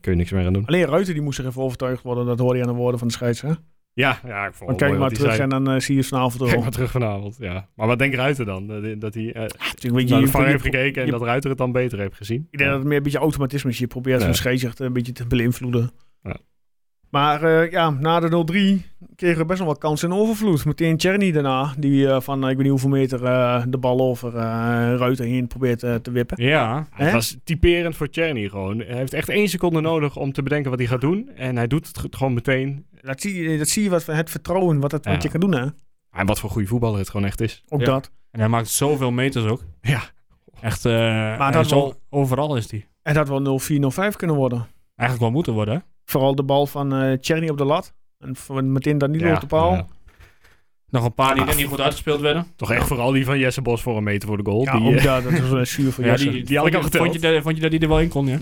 [SPEAKER 3] kun je niks meer aan doen.
[SPEAKER 1] Alleen Ruiter die moest zich even overtuigd worden. Dat hoorde je aan de woorden van de scheidsrechter.
[SPEAKER 3] Oh, Ja, ja ik vond
[SPEAKER 1] Dan
[SPEAKER 3] het
[SPEAKER 1] kijk
[SPEAKER 3] mooi
[SPEAKER 1] maar
[SPEAKER 3] wat hij
[SPEAKER 1] terug
[SPEAKER 3] zei.
[SPEAKER 1] en dan eh, zie je het vanavond wel.
[SPEAKER 3] Kijk maar terug vanavond, ja. Maar wat denkt Ruiter dan? Dat, dat hij eh,
[SPEAKER 1] Natuurlijk, weet je,
[SPEAKER 3] naar
[SPEAKER 1] je-
[SPEAKER 3] de VAR
[SPEAKER 1] je-
[SPEAKER 3] heeft gekeken en
[SPEAKER 1] je-
[SPEAKER 3] dat Ruiter het dan beter heeft gezien.
[SPEAKER 1] Ik denk dat het meer een beetje automatisme is. Je probeert
[SPEAKER 3] Ja.
[SPEAKER 1] zo'n scheidsrechter een beetje te beïnvloeden.
[SPEAKER 3] Ja.
[SPEAKER 1] Maar Maar eh, ja, na de 0-3 kregen we best nog wel kansen in overvloed. Meteen Tjerni daarna, die eh, van eh, ik weet niet hoeveel meter eh, de bal over eh Ruiter heen probeert eh, te wippen.
[SPEAKER 2] Ja.
[SPEAKER 1] Hè?
[SPEAKER 3] Het was typerend voor Cherny gewoon. Hij heeft echt één seconde nodig om te bedenken wat hij gaat doen. En hij doet het ge- gewoon meteen.
[SPEAKER 1] Dat zie, je- dat zie je wat, het vertrouwen wat, het,
[SPEAKER 3] Ja.
[SPEAKER 1] wat je kan doen, hè?
[SPEAKER 3] En wat voor goede voetballer het gewoon echt is.
[SPEAKER 1] Ook
[SPEAKER 2] Ja.
[SPEAKER 1] dat.
[SPEAKER 2] En hij maakt zoveel meters ook.
[SPEAKER 3] Ja.
[SPEAKER 2] Echt, eh maar
[SPEAKER 1] dat
[SPEAKER 2] zo,
[SPEAKER 1] wel-
[SPEAKER 2] overal is hij.
[SPEAKER 1] En dat wel 0-4, 0-5 kunnen worden.
[SPEAKER 2] Eigenlijk wel moeten worden, hè?
[SPEAKER 1] Vooral de bal van eh Tjerni op de lat. En van meteen Danilo
[SPEAKER 3] Ja,
[SPEAKER 1] op de paal.
[SPEAKER 3] ja.
[SPEAKER 2] Nog een paar die
[SPEAKER 3] Ah.
[SPEAKER 2] net niet goed uitgespeeld werden.
[SPEAKER 3] Toch echt vooral die van Jesse Bos voor een meter voor de goal.
[SPEAKER 1] Ja,
[SPEAKER 3] die,
[SPEAKER 1] ook
[SPEAKER 3] eh,
[SPEAKER 1] dat. Dat is wel zuur voor Jesse.
[SPEAKER 3] die had ik al
[SPEAKER 2] vond je-
[SPEAKER 3] geteld.
[SPEAKER 2] Vond je, dat- vond je dat die er wel in kon, ja?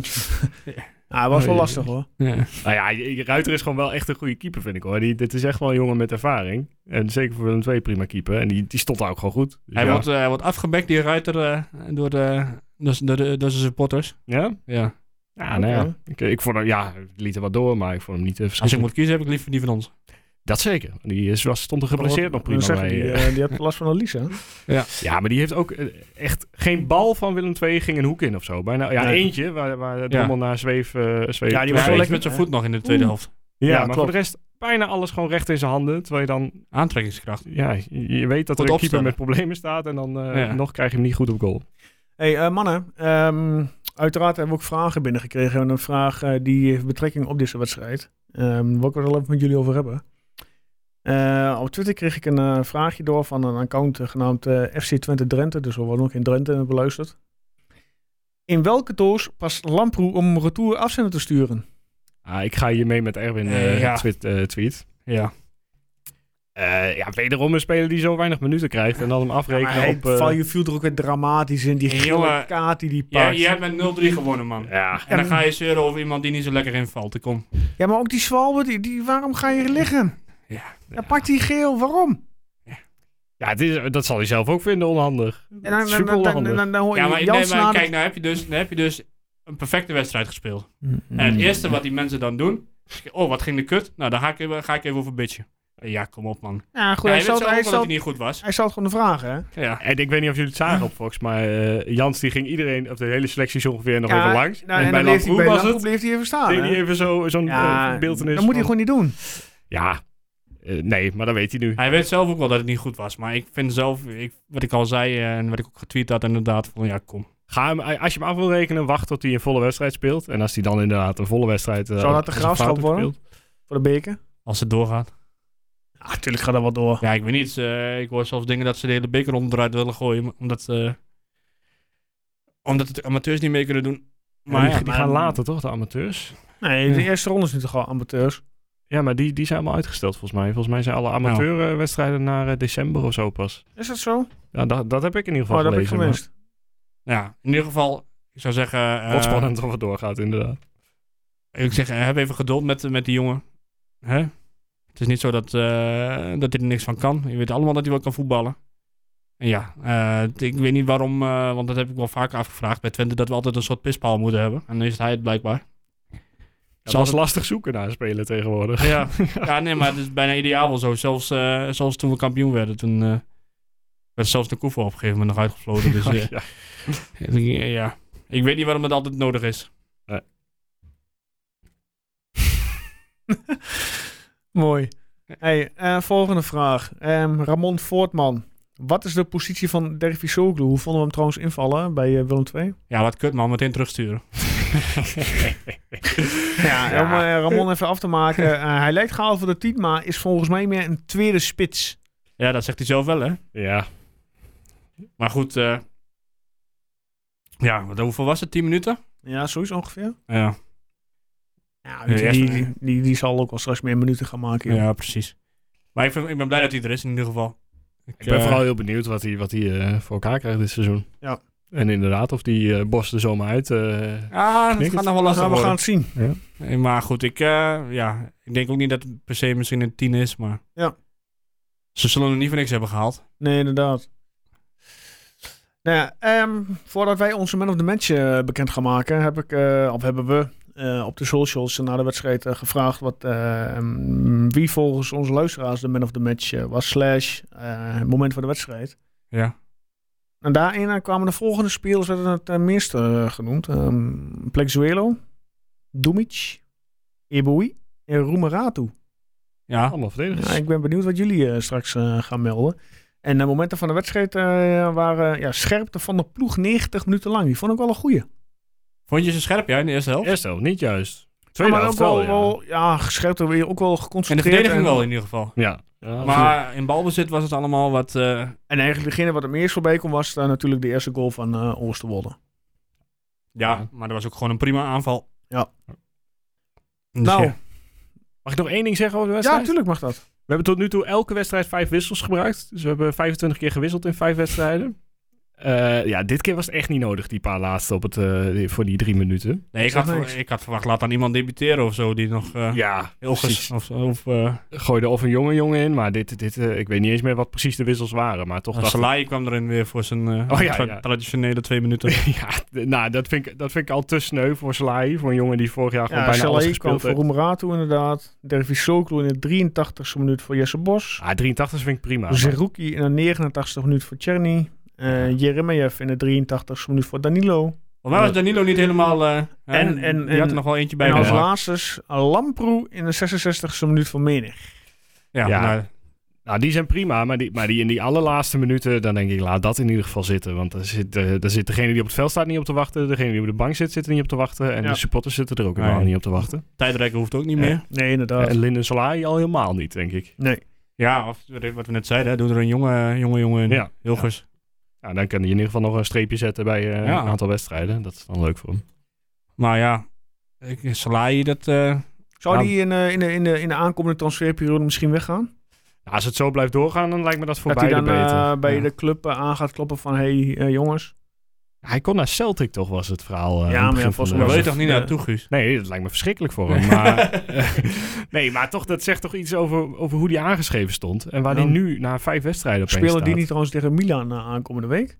[SPEAKER 1] Ah, hij was wel
[SPEAKER 2] Oh,
[SPEAKER 1] lastig, hoor.
[SPEAKER 2] ja.
[SPEAKER 3] Nou ja, je- je- Ruiter is gewoon wel echt een goede keeper, vind ik hoor. Die, dit is echt wel een jongen met ervaring. En zeker voor Willem II prima keeper. En die, die stond daar ook gewoon goed. Dus
[SPEAKER 2] Hij,
[SPEAKER 3] ja.
[SPEAKER 2] wordt, eh, hij wordt afgebekt, die ruiter, eh, door, de, door, de- door, de- door zijn supporters.
[SPEAKER 3] Ja?
[SPEAKER 2] Ja.
[SPEAKER 3] Ja, nou ja.
[SPEAKER 1] Oké.
[SPEAKER 3] Ik, ik vond hem, ja, hij liet er wat door, maar ik vond hem niet eh,
[SPEAKER 2] Als ik
[SPEAKER 3] verschrikkelijk.
[SPEAKER 2] moet kiezen, heb ik liever die van ons.
[SPEAKER 3] Dat zeker. Die is, was, stond er geblesseerd nog prima
[SPEAKER 1] Dan
[SPEAKER 3] bij.
[SPEAKER 1] zeggen die,
[SPEAKER 3] eh.
[SPEAKER 1] eh, die had last van een hè?
[SPEAKER 3] Ja, maar die heeft ook eh, echt geen bal van Willem II ging een hoek in of zo. Bijna, ja,
[SPEAKER 1] Nee.
[SPEAKER 3] eentje waar, waar Drommel naar zweef, eh zweef.
[SPEAKER 1] Ja, die was
[SPEAKER 2] Die was
[SPEAKER 3] zweef-
[SPEAKER 1] wel
[SPEAKER 2] wel
[SPEAKER 1] lekker,
[SPEAKER 2] met zijn
[SPEAKER 1] hè?
[SPEAKER 2] voet nog in de tweede helft.
[SPEAKER 3] Ja,
[SPEAKER 1] Ja,
[SPEAKER 3] maar
[SPEAKER 1] klopt.
[SPEAKER 3] voor de rest bijna alles gewoon recht in zijn handen. Terwijl je dan
[SPEAKER 2] Aantrekkingskracht.
[SPEAKER 3] Ja, je je weet dat
[SPEAKER 2] Goed
[SPEAKER 3] er een keeper
[SPEAKER 2] opstellen.
[SPEAKER 3] met problemen staat en dan eh,
[SPEAKER 2] Ja.
[SPEAKER 3] nog krijg je hem niet goed op goal.
[SPEAKER 1] Hey eh, mannen, ehm, uiteraard hebben we ook vragen binnengekregen. En een vraag eh, die heeft betrekking op deze wedstrijd. Ehm waar ik het wel even met jullie over hebben. Eh, op Twitter kreeg ik een eh, vraagje door van een account eh, genaamd eh, FC Twente Drenthe. Dus we worden ook in Drenthe beluisterd. In welke doos past Lamproe om retour afzender te sturen?
[SPEAKER 3] Ah, ik ga hier mee met Erwin
[SPEAKER 2] Eh,
[SPEAKER 3] eh,
[SPEAKER 2] ja.
[SPEAKER 3] tweet, eh, tweet.
[SPEAKER 2] Ja.
[SPEAKER 3] Eh, ja, wederom een speler die zo weinig minuten krijgt en dan hem afrekenen
[SPEAKER 1] hij
[SPEAKER 3] op... eh,
[SPEAKER 1] val je viel er ook weer dramatisch in. Die gele
[SPEAKER 2] Jongen,
[SPEAKER 1] kaart die die
[SPEAKER 2] ja.
[SPEAKER 1] pakt.
[SPEAKER 2] Je hebt met 0-3 gewonnen, man.
[SPEAKER 3] ja,
[SPEAKER 2] En dan ga je zeuren over iemand die niet zo lekker invalt. Kom.
[SPEAKER 1] Ja, maar ook die zwalbe, die, die, waarom ga je liggen?
[SPEAKER 2] Ja.
[SPEAKER 1] Ja, pak die geel, waarom?
[SPEAKER 3] ja het is, dat zal hij zelf ook vinden onhandig.
[SPEAKER 1] En dan, dan,
[SPEAKER 3] Super
[SPEAKER 1] dan, dan,
[SPEAKER 3] onhandig.
[SPEAKER 1] dan, dan hoor je
[SPEAKER 2] Ja, maar, nee,
[SPEAKER 1] Jans
[SPEAKER 2] maar
[SPEAKER 1] na de-
[SPEAKER 2] kijk, nou heb, je dus, nou heb je dus een perfecte wedstrijd gespeeld. En
[SPEAKER 1] Mm.
[SPEAKER 2] het eerste wat die mensen dan doen... Oh, wat ging de kut? Nou, dan ga ik even, ga ik even over bitchen. Ja, kom op, man.
[SPEAKER 1] Ja, goed, hij,
[SPEAKER 2] Ja, hij weet
[SPEAKER 1] stelt,
[SPEAKER 2] zelf ook wel
[SPEAKER 1] hij,
[SPEAKER 2] dat hij
[SPEAKER 1] stelt,
[SPEAKER 2] niet goed was.
[SPEAKER 1] hij stelt gewoon de vragen, hè?
[SPEAKER 2] Ja.
[SPEAKER 3] En ik weet niet of jullie het zagen op Fox, maar eh, Jans die ging iedereen, of de hele selectie zo ongeveer nog
[SPEAKER 1] Ja,
[SPEAKER 3] even langs.
[SPEAKER 1] Nou, en,
[SPEAKER 3] bij
[SPEAKER 1] dan bleef hij,
[SPEAKER 3] Lamproe
[SPEAKER 1] bij
[SPEAKER 3] was
[SPEAKER 1] Lamproe
[SPEAKER 3] het.
[SPEAKER 1] bleef hij even staan,
[SPEAKER 3] Deed
[SPEAKER 1] hè?
[SPEAKER 3] hij even zo- zo'n
[SPEAKER 1] Ja,
[SPEAKER 3] eh, beeldenis
[SPEAKER 1] dat moet hij
[SPEAKER 3] van-
[SPEAKER 1] gewoon niet doen.
[SPEAKER 3] Ja, Eh, nee, maar dat weet hij nu.
[SPEAKER 2] Hij weet zelf ook wel dat het niet goed was. Maar ik vind zelf, ik, wat ik al zei eh, en wat ik ook getweet had, inderdaad van ja, kom.
[SPEAKER 3] Ga hem, eh, als je hem af wil rekenen, wacht tot hij een volle wedstrijd speelt. En als hij dan inderdaad een volle wedstrijd... eh,
[SPEAKER 1] Zou dat de
[SPEAKER 3] als een
[SPEAKER 1] graafschap
[SPEAKER 3] fout heeft
[SPEAKER 1] worden?
[SPEAKER 3] gespeeld.
[SPEAKER 1] Voor de beker.
[SPEAKER 2] Als het doorgaat.
[SPEAKER 1] Natuurlijk gaat dat wel door.
[SPEAKER 2] Ja, ik weet niet. eh, ik hoor zelfs dingen dat ze de hele beker onderuit willen gooien. Omdat, eh, omdat de amateurs niet mee kunnen doen. Maar
[SPEAKER 3] Maar
[SPEAKER 2] ja,
[SPEAKER 3] die
[SPEAKER 1] maar-
[SPEAKER 3] gaan later toch, de amateurs?
[SPEAKER 1] Nee, de eerste ronde is nu toch al amateurs.
[SPEAKER 3] Ja, maar die, die zijn allemaal uitgesteld volgens mij. Volgens mij zijn alle amateurwedstrijden naar eh, december of zo pas.
[SPEAKER 1] Is dat zo?
[SPEAKER 3] Ja, dat, dat heb ik in ieder
[SPEAKER 1] Oh,
[SPEAKER 3] geval
[SPEAKER 1] dat heb ik
[SPEAKER 3] gelezen. maar
[SPEAKER 1] gemist.
[SPEAKER 2] ja, in ieder geval, ik zou zeggen... eh,
[SPEAKER 3] Wat spannend of het doorgaat, inderdaad.
[SPEAKER 2] Ik zeg, eh, heb even geduld met, met die jongen. Hè? Het is niet zo dat, eh, dat hij er niks van kan. Je weet allemaal dat hij wel kan voetballen. En ja, eh, t- ik weet niet waarom, eh, want dat heb ik wel vaker afgevraagd bij Twente, dat we altijd een soort pispaal moeten hebben. En dan is hij het blijkbaar.
[SPEAKER 3] Het
[SPEAKER 2] Zoals
[SPEAKER 3] was lastig zoeken naar een speler tegenwoordig.
[SPEAKER 2] Ja, ja, nee, maar het is bijna ideaal wel zo. Zelfs, eh, zelfs toen we kampioen werden, toen eh, werd zelfs de koevo op een gegeven moment nog uitgefloten. Dus eh,
[SPEAKER 3] Ja.
[SPEAKER 2] ja. ik weet niet waarom het altijd nodig is.
[SPEAKER 1] Mooi. Hey, eh, volgende vraag. Ehm, Ramon Voortman. Wat is de positie van Dervisoglu? Hoe vonden we hem trouwens invallen bij eh, Willem II?
[SPEAKER 2] Ja, wat kut man, meteen terugsturen.
[SPEAKER 1] Ja, om eh, Ramon even af te maken. eh, hij lijkt gehaald voor de tien, maar is volgens mij meer een tweede spits.
[SPEAKER 2] Ja, dat zegt hij zelf wel, hè?
[SPEAKER 3] ja.
[SPEAKER 2] Maar goed, eh, ja, wat, hoeveel was het? 10 minuten?
[SPEAKER 1] Ja, sowieso ongeveer.
[SPEAKER 2] Ja,
[SPEAKER 1] Ja,
[SPEAKER 2] weet je,
[SPEAKER 1] die,
[SPEAKER 2] echt,
[SPEAKER 1] die, die, die zal ook wel straks meer minuten gaan maken. joh.
[SPEAKER 2] ja precies. Maar ik, vind- ik ben blij dat hij er is in ieder geval.
[SPEAKER 3] Ik ben
[SPEAKER 2] eh,
[SPEAKER 3] vooral heel benieuwd wat hij, wat hij eh, voor elkaar krijgt dit seizoen.
[SPEAKER 1] Ja.
[SPEAKER 3] En inderdaad, of die eh, Bos er zomaar uit... eh,
[SPEAKER 2] Ah, dat gaat
[SPEAKER 3] Knik het.
[SPEAKER 2] nog wel
[SPEAKER 1] Nou,
[SPEAKER 2] lastig
[SPEAKER 1] we gaan
[SPEAKER 2] worden.
[SPEAKER 1] het zien.
[SPEAKER 2] Eh, Maar goed, ik, eh, ja, ik denk ook niet dat het per se misschien een 10 is, maar...
[SPEAKER 1] Ja.
[SPEAKER 2] Ze zullen er niet voor niks hebben gehaald.
[SPEAKER 1] Nee, inderdaad. Nou ja, ehm, voordat wij onze Man of the Match eh, bekend gaan maken, heb ik, eh, of hebben we eh, op de socials na de wedstrijd eh, gevraagd wat, eh, mm, wie volgens onze luisteraars de Man of the Match eh, was, slash eh, het moment van de wedstrijd.
[SPEAKER 2] Ja.
[SPEAKER 1] En daarin eh, kwamen de volgende spelers, werden het eh, meeste eh, genoemd. Ehm Plexuelo, Dumic, Eboui, en Roemeratu.
[SPEAKER 2] Ja,
[SPEAKER 3] Allemaal verdedigers.
[SPEAKER 1] Ja, ik ben benieuwd wat jullie eh, straks eh, gaan melden. En de momenten van de wedstrijd eh, waren ja, scherpte van de ploeg 90 minuten lang. Die vond ik wel een goeie.
[SPEAKER 2] vond je ze scherp, ja, in de eerste helft?
[SPEAKER 3] Eerste helft niet juist. Tweede
[SPEAKER 1] maar ook
[SPEAKER 3] helft wel,
[SPEAKER 1] wel,
[SPEAKER 3] ja.
[SPEAKER 1] wel ja, scherpte weer ook wel
[SPEAKER 2] En de
[SPEAKER 1] geconcentreerd.
[SPEAKER 2] verdediging wel in ieder geval.
[SPEAKER 3] Ja. Ja, absoluut.
[SPEAKER 2] Maar in balbezit was het allemaal wat... eh,
[SPEAKER 1] En eigenlijk degene wat het eerst voorbij kwam was eh, natuurlijk de eerste goal van eh Oosterwolde.
[SPEAKER 2] ja, maar dat was ook gewoon een prima aanval.
[SPEAKER 1] Ja.
[SPEAKER 2] Dus
[SPEAKER 1] Nou,
[SPEAKER 2] ja.
[SPEAKER 3] Mag ik nog één ding zeggen over de
[SPEAKER 1] ja,
[SPEAKER 3] wedstrijd?
[SPEAKER 1] natuurlijk mag dat.
[SPEAKER 3] We hebben tot nu toe elke wedstrijd vijf wissels gebruikt. Dus we hebben 25 keer gewisseld in vijf wedstrijden. Eh, ja, dit keer was het echt niet nodig, die paar laatste op het, eh, die- voor die drie minuten.
[SPEAKER 2] Nee, ik
[SPEAKER 1] Zeg
[SPEAKER 2] had,
[SPEAKER 1] niks.
[SPEAKER 2] ik had verwacht, laat dan iemand debuteren of zo, die nog... eh
[SPEAKER 3] Ja,
[SPEAKER 2] Ilges
[SPEAKER 3] precies.
[SPEAKER 2] of, of eh
[SPEAKER 3] Gooide of een jonge jongen in, maar dit, dit, eh, ik weet niet eens meer wat precies de wissels waren. Maar toch dacht ik-
[SPEAKER 2] Salai kwam erin weer voor zijn eh,
[SPEAKER 3] Oh, ja,
[SPEAKER 2] tra-
[SPEAKER 3] ja.
[SPEAKER 2] traditionele twee minuten.
[SPEAKER 3] ja, d- nou, dat vind, ik, dat vind ik al te sneu voor Salai. Voor een jongen die vorig jaar gewoon
[SPEAKER 1] Ja,
[SPEAKER 3] bijna alles
[SPEAKER 1] Saleh kwam
[SPEAKER 3] gespeeld
[SPEAKER 1] voor
[SPEAKER 3] heeft.
[SPEAKER 1] Roemeratu inderdaad. Dervis Soklu in de 83ste minuut voor Jesse Bos.
[SPEAKER 3] Ah, 83 vind ik prima.
[SPEAKER 1] Dus Zerouki in de 89ste minuut voor Czerny. Eh Jeremejeff in de 83ste minuut voor Danilo.
[SPEAKER 2] Volgens mij was Danilo niet helemaal... eh, hè,
[SPEAKER 1] En- en-
[SPEAKER 2] die had
[SPEAKER 1] en-
[SPEAKER 2] er nog wel eentje bij.
[SPEAKER 1] En als
[SPEAKER 2] gemaakt.
[SPEAKER 1] laatste Lamproe in de 66ste minuut voor Menig.
[SPEAKER 2] ja,
[SPEAKER 3] Ja.
[SPEAKER 2] nou,
[SPEAKER 3] Nou, die zijn prima, maar die, maar die in die allerlaatste minuten, dan denk ik, laat dat in ieder geval zitten. Want daar zit, eh, daar zit degene die op het veld staat niet op te wachten, degene die op de bank zit, zit er niet op te wachten. En
[SPEAKER 1] Ja.
[SPEAKER 3] de supporters zitten er ook helemaal
[SPEAKER 2] Nee.
[SPEAKER 3] niet op te wachten.
[SPEAKER 2] tijdrekken hoeft ook niet
[SPEAKER 3] Ja.
[SPEAKER 2] meer.
[SPEAKER 1] Nee, inderdaad.
[SPEAKER 3] En Linden Solari al helemaal niet, denk ik.
[SPEAKER 1] Nee.
[SPEAKER 2] Ja, of wat we net zeiden, hè, doe er een jonge jonge, jongen in.
[SPEAKER 3] Ja.
[SPEAKER 2] Hilgers.
[SPEAKER 3] Nou, dan kan je in ieder geval nog een streepje zetten bij eh,
[SPEAKER 2] Ja.
[SPEAKER 3] een aantal wedstrijden. Dat is dan leuk voor hem.
[SPEAKER 2] Maar ja, ik, Salai, dat... eh,
[SPEAKER 1] Zou
[SPEAKER 2] Nou,
[SPEAKER 1] die in, eh, in, de, in, de, in de aankomende transferperiode misschien weggaan?
[SPEAKER 3] Nou, als het zo blijft doorgaan, dan lijkt me dat voor
[SPEAKER 1] dat hij
[SPEAKER 3] beide
[SPEAKER 1] dan eh,
[SPEAKER 3] beter.
[SPEAKER 1] bij
[SPEAKER 2] Ja.
[SPEAKER 1] de club eh, aan gaat kloppen van... Hé hey, eh, jongens.
[SPEAKER 3] Hij kon naar Celtic toch, was het verhaal. eh, aan
[SPEAKER 1] maar
[SPEAKER 3] het
[SPEAKER 1] ja,
[SPEAKER 3] begin
[SPEAKER 1] volgens
[SPEAKER 3] van
[SPEAKER 2] daar
[SPEAKER 1] mij
[SPEAKER 3] de-
[SPEAKER 2] wil je toch niet
[SPEAKER 1] Ja.
[SPEAKER 2] naartoe, Guus?
[SPEAKER 3] Nee, dat lijkt me verschrikkelijk voor hem. Maar, eh, nee, maar toch, dat zegt toch iets over, over hoe hij aangeschreven stond. En waar
[SPEAKER 1] Ja.
[SPEAKER 3] hij nu na vijf wedstrijden opeens
[SPEAKER 1] Spelen die
[SPEAKER 3] staat.
[SPEAKER 1] niet trouwens tegen Milan eh, aankomende week?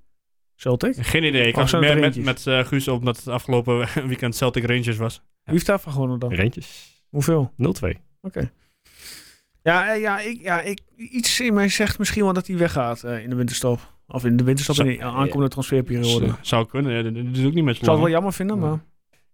[SPEAKER 1] Celtic?
[SPEAKER 2] Geen idee. Ik
[SPEAKER 3] Oh,
[SPEAKER 1] Of
[SPEAKER 2] was
[SPEAKER 1] zijn het
[SPEAKER 2] meer
[SPEAKER 1] er
[SPEAKER 2] met, met
[SPEAKER 1] eentjes?
[SPEAKER 2] eh, Guus omdat het afgelopen weekend Celtic Rangers was.
[SPEAKER 1] Wie heeft daarvan gewonnen dan?
[SPEAKER 3] Reentjes.
[SPEAKER 1] Hoeveel?
[SPEAKER 3] 0-2.
[SPEAKER 1] Ja, eh, ja, ik, ja ik, iets in mij zegt misschien wel dat hij weggaat eh, in de winterstop. Of in de winterstop in de aankomende transferperiode.
[SPEAKER 2] Z- Zou kunnen. ja, dat- Dat is ook niet met
[SPEAKER 1] Ik zou het wel
[SPEAKER 2] z'n
[SPEAKER 1] jammer vinden, maar...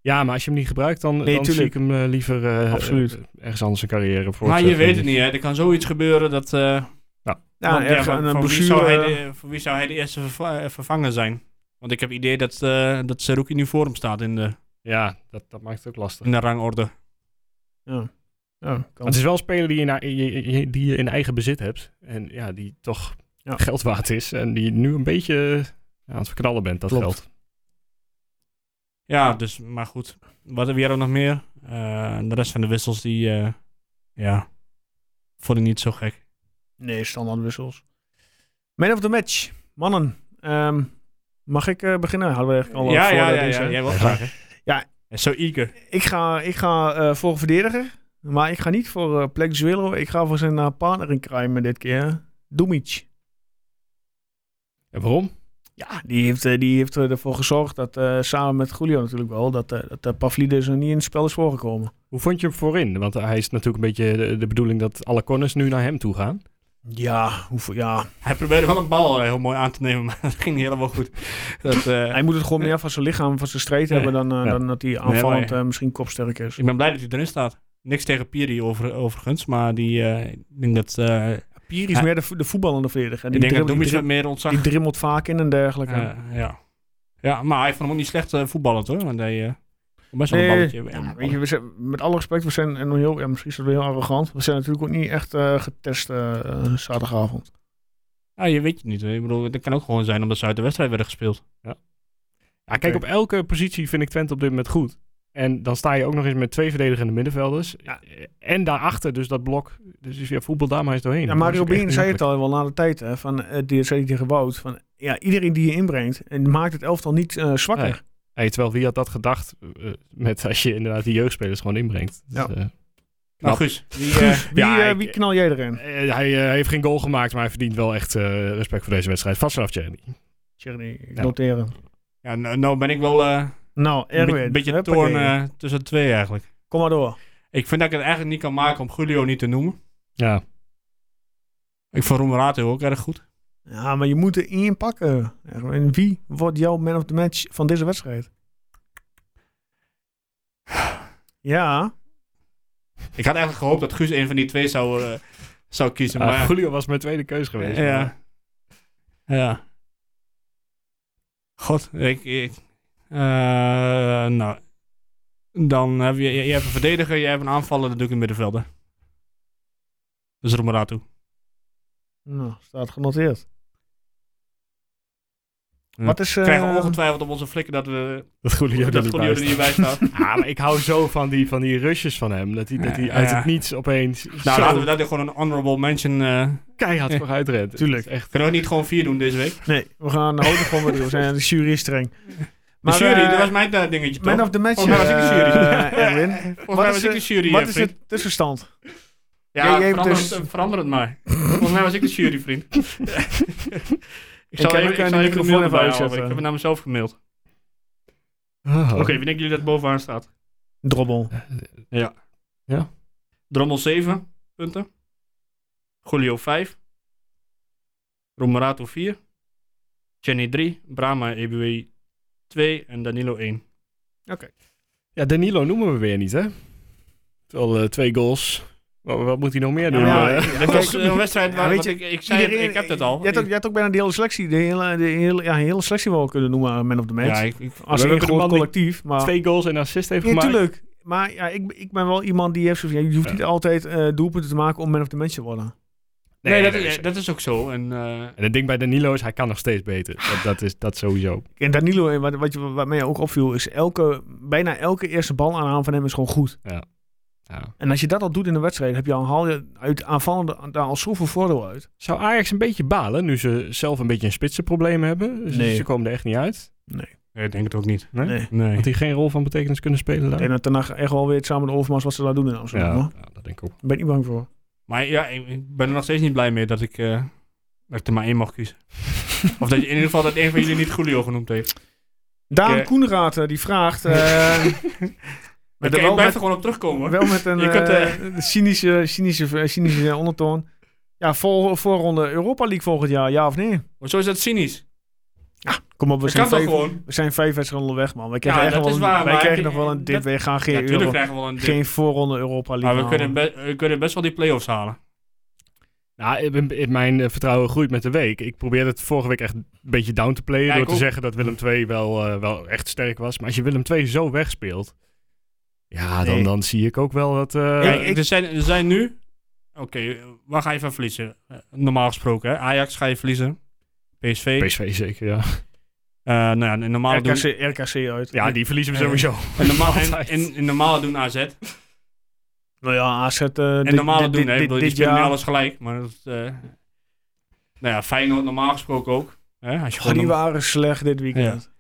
[SPEAKER 3] Ja, maar als je hem niet gebruikt, dan, dan zie ik
[SPEAKER 1] tuurlijk.
[SPEAKER 3] hem eh, liever eh,
[SPEAKER 1] Absoluut.
[SPEAKER 3] eh, ergens anders een carrière voor.
[SPEAKER 2] Maar je
[SPEAKER 3] zetten.
[SPEAKER 2] weet het niet, hè. Er kan zoiets gebeuren dat... eh,
[SPEAKER 1] Ja,
[SPEAKER 2] want, ja,
[SPEAKER 1] erg
[SPEAKER 2] van-
[SPEAKER 1] een, een
[SPEAKER 2] van wie
[SPEAKER 1] blessure.
[SPEAKER 2] zou hij de- Voor wie zou hij de eerste verva- eh, vervanger zijn? Want ik heb het idee dat, eh dat Seruki nu voor hem staat in de,
[SPEAKER 3] Ja, dat, dat maakt het ook lastig.
[SPEAKER 2] in de rangorde.
[SPEAKER 1] Ja, kan.
[SPEAKER 3] Maar het is wel een speler die je, in, je- je- die je in eigen bezit hebt. En ja, die toch
[SPEAKER 1] Ja.
[SPEAKER 3] geld waard is. En die nu een beetje eh, aan het verknallen bent, dat
[SPEAKER 1] Klopt.
[SPEAKER 3] geld.
[SPEAKER 2] Ja, dus, maar goed. Wat hebben we hier ook nog meer? Eh, de rest van de wissels, die, eh, ja, vond ik niet zo gek.
[SPEAKER 1] Nee, standaard wissels. Man of the match. Mannen, ehm, mag ik eh, beginnen? Hadden we eigenlijk al eh,
[SPEAKER 2] ja,
[SPEAKER 1] voor
[SPEAKER 2] ja,
[SPEAKER 1] eh,
[SPEAKER 2] ja,
[SPEAKER 1] deze,
[SPEAKER 2] ja,
[SPEAKER 1] hè?
[SPEAKER 2] jij wil graag, hè?
[SPEAKER 1] Ja.
[SPEAKER 2] En Zo eager.
[SPEAKER 1] Ik ga, ik ga eh, voor een verdediger, maar ik ga niet voor eh, Plek Zuelo. Ik ga voor zijn eh, partner in crime dit keer. Dumic.
[SPEAKER 3] En waarom?
[SPEAKER 1] Ja, die heeft, eh, die heeft eh, ervoor gezorgd dat, eh, samen met Julio natuurlijk wel, dat, eh dat eh, Pavlidis er niet in het spel is voorgekomen.
[SPEAKER 3] Hoe vond je hem voorin? Want hij is natuurlijk een beetje de, de bedoeling dat alle corners nu naar hem toe gaan.
[SPEAKER 1] Ja, hoeveel, ja,
[SPEAKER 2] Hij probeerde wel een bal eh, heel mooi aan te nemen, maar dat ging niet helemaal goed. Dat, eh,
[SPEAKER 1] hij moet het gewoon meer van zijn lichaam, van zijn strijd
[SPEAKER 2] Ja.
[SPEAKER 1] hebben dan, eh,
[SPEAKER 3] Ja.
[SPEAKER 1] dan dat hij aanvallend
[SPEAKER 2] maar-
[SPEAKER 1] eh, misschien kopsterk is.
[SPEAKER 2] ik ben blij dat hij erin staat. Niks tegen Piri over, overigens, maar die, eh, ik denk dat, eh
[SPEAKER 1] Pier is
[SPEAKER 2] Ja.
[SPEAKER 1] meer de, vo- de voetballende verdediger. En
[SPEAKER 2] ik
[SPEAKER 1] die,
[SPEAKER 2] denk dat
[SPEAKER 1] dribbelt-
[SPEAKER 2] Doemies
[SPEAKER 1] die,
[SPEAKER 2] wat meer ontzag.
[SPEAKER 1] dribbelt- die dribbelt vaak in en dergelijke.
[SPEAKER 2] eh, ja. ja, maar hij vond hem ook niet slecht eh, voetballend hoor, want hij eh, kon best wel een
[SPEAKER 1] Nee,
[SPEAKER 2] balletje.
[SPEAKER 1] Ja, weet je, we zijn, met alle respect, we zijn, en heel, ja, misschien is dat wel heel arrogant, we zijn natuurlijk ook niet echt eh, getest eh, eh, zaterdagavond.
[SPEAKER 2] Ja, je weet het niet. hè. Ik bedoel, dat kan ook gewoon zijn omdat ze uit de wedstrijd werden gespeeld.
[SPEAKER 3] Ja, kijk,
[SPEAKER 1] Oké.
[SPEAKER 3] op elke positie vind ik Twente op dit moment goed. En dan sta je ook nog eens met twee verdedigende middenvelders. En daarachter dus dat blok. Dus is weer voetbal daar maar eens doorheen.
[SPEAKER 1] Ja,
[SPEAKER 3] Dat is
[SPEAKER 1] Mario
[SPEAKER 3] ook echt
[SPEAKER 1] Been
[SPEAKER 3] niet
[SPEAKER 1] zei het
[SPEAKER 3] makkelijk.
[SPEAKER 1] al wel na de tijd, hè, van, eh, die zei hij tegen Wout, van ja, iedereen die je inbrengt, en maakt het elftal niet eh, zwakker.
[SPEAKER 3] Nee. Hey, terwijl wie had dat gedacht eh, met als je inderdaad die jeugdspelers gewoon inbrengt. Dus,
[SPEAKER 1] Ja.
[SPEAKER 3] eh,
[SPEAKER 2] Nou,
[SPEAKER 3] Knap.
[SPEAKER 2] Guus, wie, eh,
[SPEAKER 1] Guus, wie,
[SPEAKER 3] Ja,
[SPEAKER 1] eh,
[SPEAKER 3] ik-
[SPEAKER 1] wie knal jij erin?
[SPEAKER 3] eh, hij eh, heeft geen goal gemaakt, maar hij verdient wel echt eh, respect voor deze wedstrijd. Vast vanaf Tjerni.
[SPEAKER 1] Tjerni, ik
[SPEAKER 3] Ja.
[SPEAKER 1] noteren.
[SPEAKER 2] ja, nou, nou ben ik wel eh,
[SPEAKER 1] Nou,
[SPEAKER 2] een
[SPEAKER 1] Erwin.
[SPEAKER 2] beetje- een beetje
[SPEAKER 1] huppakee.
[SPEAKER 2] torn eh, tussen de twee eigenlijk.
[SPEAKER 1] Kom maar door.
[SPEAKER 2] Ik vind dat ik het eigenlijk niet kan maken om Julio niet te noemen.
[SPEAKER 3] Ja.
[SPEAKER 2] Ik vond Romerato ook erg goed.
[SPEAKER 1] Ja, maar je moet er één pakken. En wie wordt jouw man of the match van deze wedstrijd? Ja.
[SPEAKER 2] Ik had eigenlijk gehoopt dat Guus een van die twee zou, eh, zou kiezen.
[SPEAKER 3] Ah,
[SPEAKER 2] maar
[SPEAKER 3] Julio was mijn tweede keus geweest.
[SPEAKER 2] Ja. Ja. God, ik... ik eh, nou. Dan heb je... Je je hebt een verdediger, je hebt een aanvaller, dan doe ik een middenvelder. Dus Romeratu.
[SPEAKER 1] Nou, staat genoteerd.
[SPEAKER 2] Ja.
[SPEAKER 1] Wat is... eh,
[SPEAKER 2] We Hm. krijgen ongetwijfeld op onze flikken dat we...
[SPEAKER 3] Dat Julio er
[SPEAKER 2] dat
[SPEAKER 3] niet
[SPEAKER 2] Julio
[SPEAKER 3] bij
[SPEAKER 2] er niet bij staat.
[SPEAKER 3] staat. Ah, maar ik hou zo van die, van die rushes van hem. Dat hij, dat hij
[SPEAKER 2] Ja,
[SPEAKER 3] uit
[SPEAKER 2] ja.
[SPEAKER 3] het niets opeens
[SPEAKER 2] nou,
[SPEAKER 3] zo
[SPEAKER 2] laten we dat gewoon een honorable mention... eh
[SPEAKER 3] keihard
[SPEAKER 2] Ja.
[SPEAKER 3] vooruit redt.
[SPEAKER 1] Tuurlijk.
[SPEAKER 3] Het is Echt.
[SPEAKER 2] kunnen we niet gewoon vier doen deze week?
[SPEAKER 1] Nee, we gaan de hoogte gewoon weer doen. We zijn aan de jury is streng.
[SPEAKER 2] Maar, de jury,
[SPEAKER 1] eh,
[SPEAKER 2] dat was mijn eh, dingetje toch?
[SPEAKER 1] Man of the match,
[SPEAKER 2] Volgens mij was ik de jury.
[SPEAKER 1] eh, Erwin.
[SPEAKER 2] Volgens mij
[SPEAKER 1] is
[SPEAKER 2] was
[SPEAKER 1] het-
[SPEAKER 2] ik de jury,
[SPEAKER 1] Wat
[SPEAKER 2] eh,
[SPEAKER 1] is
[SPEAKER 2] vriend.
[SPEAKER 1] het tussenstand?
[SPEAKER 2] Ja,
[SPEAKER 1] Jij hebt
[SPEAKER 2] verander,
[SPEAKER 1] dus-
[SPEAKER 2] het, verander het maar. Volgens mij was ik de jury, vriend. ik zal
[SPEAKER 1] heb
[SPEAKER 2] even,
[SPEAKER 1] ook,
[SPEAKER 2] ik
[SPEAKER 1] eh,
[SPEAKER 2] zal
[SPEAKER 1] die
[SPEAKER 2] even de
[SPEAKER 1] microfoon
[SPEAKER 2] mail
[SPEAKER 1] even
[SPEAKER 2] erbij halen.
[SPEAKER 1] uitzetten.
[SPEAKER 2] Ik heb het naar mezelf gemaild.
[SPEAKER 3] Oh.
[SPEAKER 2] Oké, wie denken jullie dat bovenaan staat?
[SPEAKER 1] Drobbel.
[SPEAKER 2] Drommel 7 punten. Julio 5. Romerato 4. Jenny 3. Brahma E EBW 2. En Danilo 1.
[SPEAKER 3] Ja, Danilo noemen we weer niet, hè? Terwijl eh, twee goals. Wat, wat moet hij nog meer doen?
[SPEAKER 1] Ja,
[SPEAKER 3] eh?
[SPEAKER 2] dat was een wedstrijd waar
[SPEAKER 1] Ja, weet
[SPEAKER 2] want
[SPEAKER 1] je,
[SPEAKER 2] ik, ik zei, het, ik heb dat al.
[SPEAKER 1] Je hebt ook, je hebt ook bijna de hele selectie. De hele, de hele, ja, de hele selectie wel kunnen noemen aan Man of the Match.
[SPEAKER 2] ja, ik, ik-
[SPEAKER 1] Als
[SPEAKER 3] We
[SPEAKER 1] een
[SPEAKER 3] hebben de
[SPEAKER 1] groot
[SPEAKER 3] man die
[SPEAKER 1] collectief. Maar...
[SPEAKER 3] Twee goals en assist heeft
[SPEAKER 1] Ja,
[SPEAKER 3] gemaakt.
[SPEAKER 1] tuurlijk. Maar ja, ik, ik ben wel iemand die heeft zo van, ja, je hoeft niet altijd eh, doelpunten te maken om man of the match te worden.
[SPEAKER 2] nee, dat,
[SPEAKER 3] is-
[SPEAKER 2] dat is ook zo. En, eh,
[SPEAKER 3] En het ding bij Danilo is, hij kan nog steeds beter. Dat, dat is dat sowieso.
[SPEAKER 1] En Danilo, eh, wat, wat, je- wat mij ook opviel, is elke, bijna elke eerste bal aan van hem is gewoon goed.
[SPEAKER 3] Ja.
[SPEAKER 1] En als je dat al doet in een wedstrijd, heb je al, haal je uit aanvallende daar al zoveel voordeel uit.
[SPEAKER 3] Zou Ajax een beetje balen nu ze zelf een beetje een spitsenprobleem hebben? Ze,
[SPEAKER 1] Nee.
[SPEAKER 3] ze komen er echt niet uit.
[SPEAKER 2] ik denk het ook niet.
[SPEAKER 3] Nee?
[SPEAKER 1] Nee.
[SPEAKER 2] Nee.
[SPEAKER 3] Want die geen rol van betekenis kunnen spelen
[SPEAKER 1] Ik
[SPEAKER 3] daar?
[SPEAKER 1] denk dat daarna echt wel weer het samen de overmars wat ze daar doen in Amsterdam.
[SPEAKER 3] ja,
[SPEAKER 1] hoor.
[SPEAKER 3] ja, dat denk ik ook.
[SPEAKER 1] Daar ben ik niet bang voor.
[SPEAKER 2] Maar ja, ik, ik ben er nog steeds niet blij mee dat ik, eh, dat ik er maar één mag kiezen. of dat je in ieder geval dat een van jullie niet Julio genoemd heeft.
[SPEAKER 1] Daan
[SPEAKER 2] eh,
[SPEAKER 1] Koenraad eh, die vraagt. eh,
[SPEAKER 2] Maar
[SPEAKER 1] met
[SPEAKER 2] ik
[SPEAKER 1] wel,
[SPEAKER 2] blijf
[SPEAKER 1] met,
[SPEAKER 2] er gewoon op terugkomen. hoor.
[SPEAKER 1] wel met een
[SPEAKER 2] Je kunt,
[SPEAKER 1] eh, cynische, cynische, eh, cynische ondertoon. Ja, vol, voorronde Europa League volgend jaar, ja of nee?
[SPEAKER 2] Maar zo is dat cynisch.
[SPEAKER 1] Kom op, we
[SPEAKER 2] Dat
[SPEAKER 1] zijn,
[SPEAKER 2] kan toch
[SPEAKER 1] vijf,
[SPEAKER 2] gewoon?
[SPEAKER 1] we zijn vijf wedstrijden onderweg, man. Wij krijgen,
[SPEAKER 2] Ja,
[SPEAKER 1] echt
[SPEAKER 2] dat
[SPEAKER 1] nog
[SPEAKER 2] is
[SPEAKER 1] wel een-
[SPEAKER 2] waar,
[SPEAKER 1] wij
[SPEAKER 2] maar
[SPEAKER 1] krijgen
[SPEAKER 2] ik-
[SPEAKER 1] nog wel een dip.
[SPEAKER 2] dat-
[SPEAKER 1] Wij gaan geen,
[SPEAKER 2] Natuurlijk
[SPEAKER 1] Euro-
[SPEAKER 2] krijgen we wel een dip.
[SPEAKER 1] geen voorronde Europa League.
[SPEAKER 2] Maar we
[SPEAKER 1] halen.
[SPEAKER 2] kunnen, be- we kunnen best wel die play-offs halen.
[SPEAKER 3] Nou, ik ben- ik- mijn eh, vertrouwen groeit met de week. Ik probeerde het vorige week echt een beetje down te playen.
[SPEAKER 2] Ja,
[SPEAKER 3] door
[SPEAKER 2] ik
[SPEAKER 3] te
[SPEAKER 2] ook.
[SPEAKER 3] zeggen dat Willem II wel, eh, wel echt sterk was. Maar als je Willem II zo wegspeelt. Ja, dan,
[SPEAKER 1] Nee.
[SPEAKER 3] dan zie ik ook wel dat. eh,
[SPEAKER 2] Kijk,
[SPEAKER 1] ik-
[SPEAKER 2] er, zijn, er zijn nu... Oké, waar ga je van verliezen? Eh, Normaal gesproken, hè? Ajax ga je verliezen. PSV.
[SPEAKER 3] PSV zeker, ja.
[SPEAKER 2] Eh, nou ja, en normaal doen,
[SPEAKER 1] RKC, RKC uit.
[SPEAKER 3] Ja, die verliezen we sowieso.
[SPEAKER 2] en normaal, en,
[SPEAKER 3] Altijd.
[SPEAKER 2] en, en normaal doen AZ.
[SPEAKER 1] Nou ja, AZ. eh,
[SPEAKER 2] En
[SPEAKER 1] dit-
[SPEAKER 2] normaal
[SPEAKER 1] dit-
[SPEAKER 2] doen, hè?
[SPEAKER 1] dit-
[SPEAKER 2] Ik bedoel, Die
[SPEAKER 1] dit
[SPEAKER 2] spelen nu
[SPEAKER 1] jaar-
[SPEAKER 2] alles gelijk. Maar dat, eh nou ja, Feyenoord normaal gesproken ook. Hè? Als je
[SPEAKER 1] Oh,
[SPEAKER 2] gewoon
[SPEAKER 1] die
[SPEAKER 2] norm-
[SPEAKER 1] waren slecht dit weekend.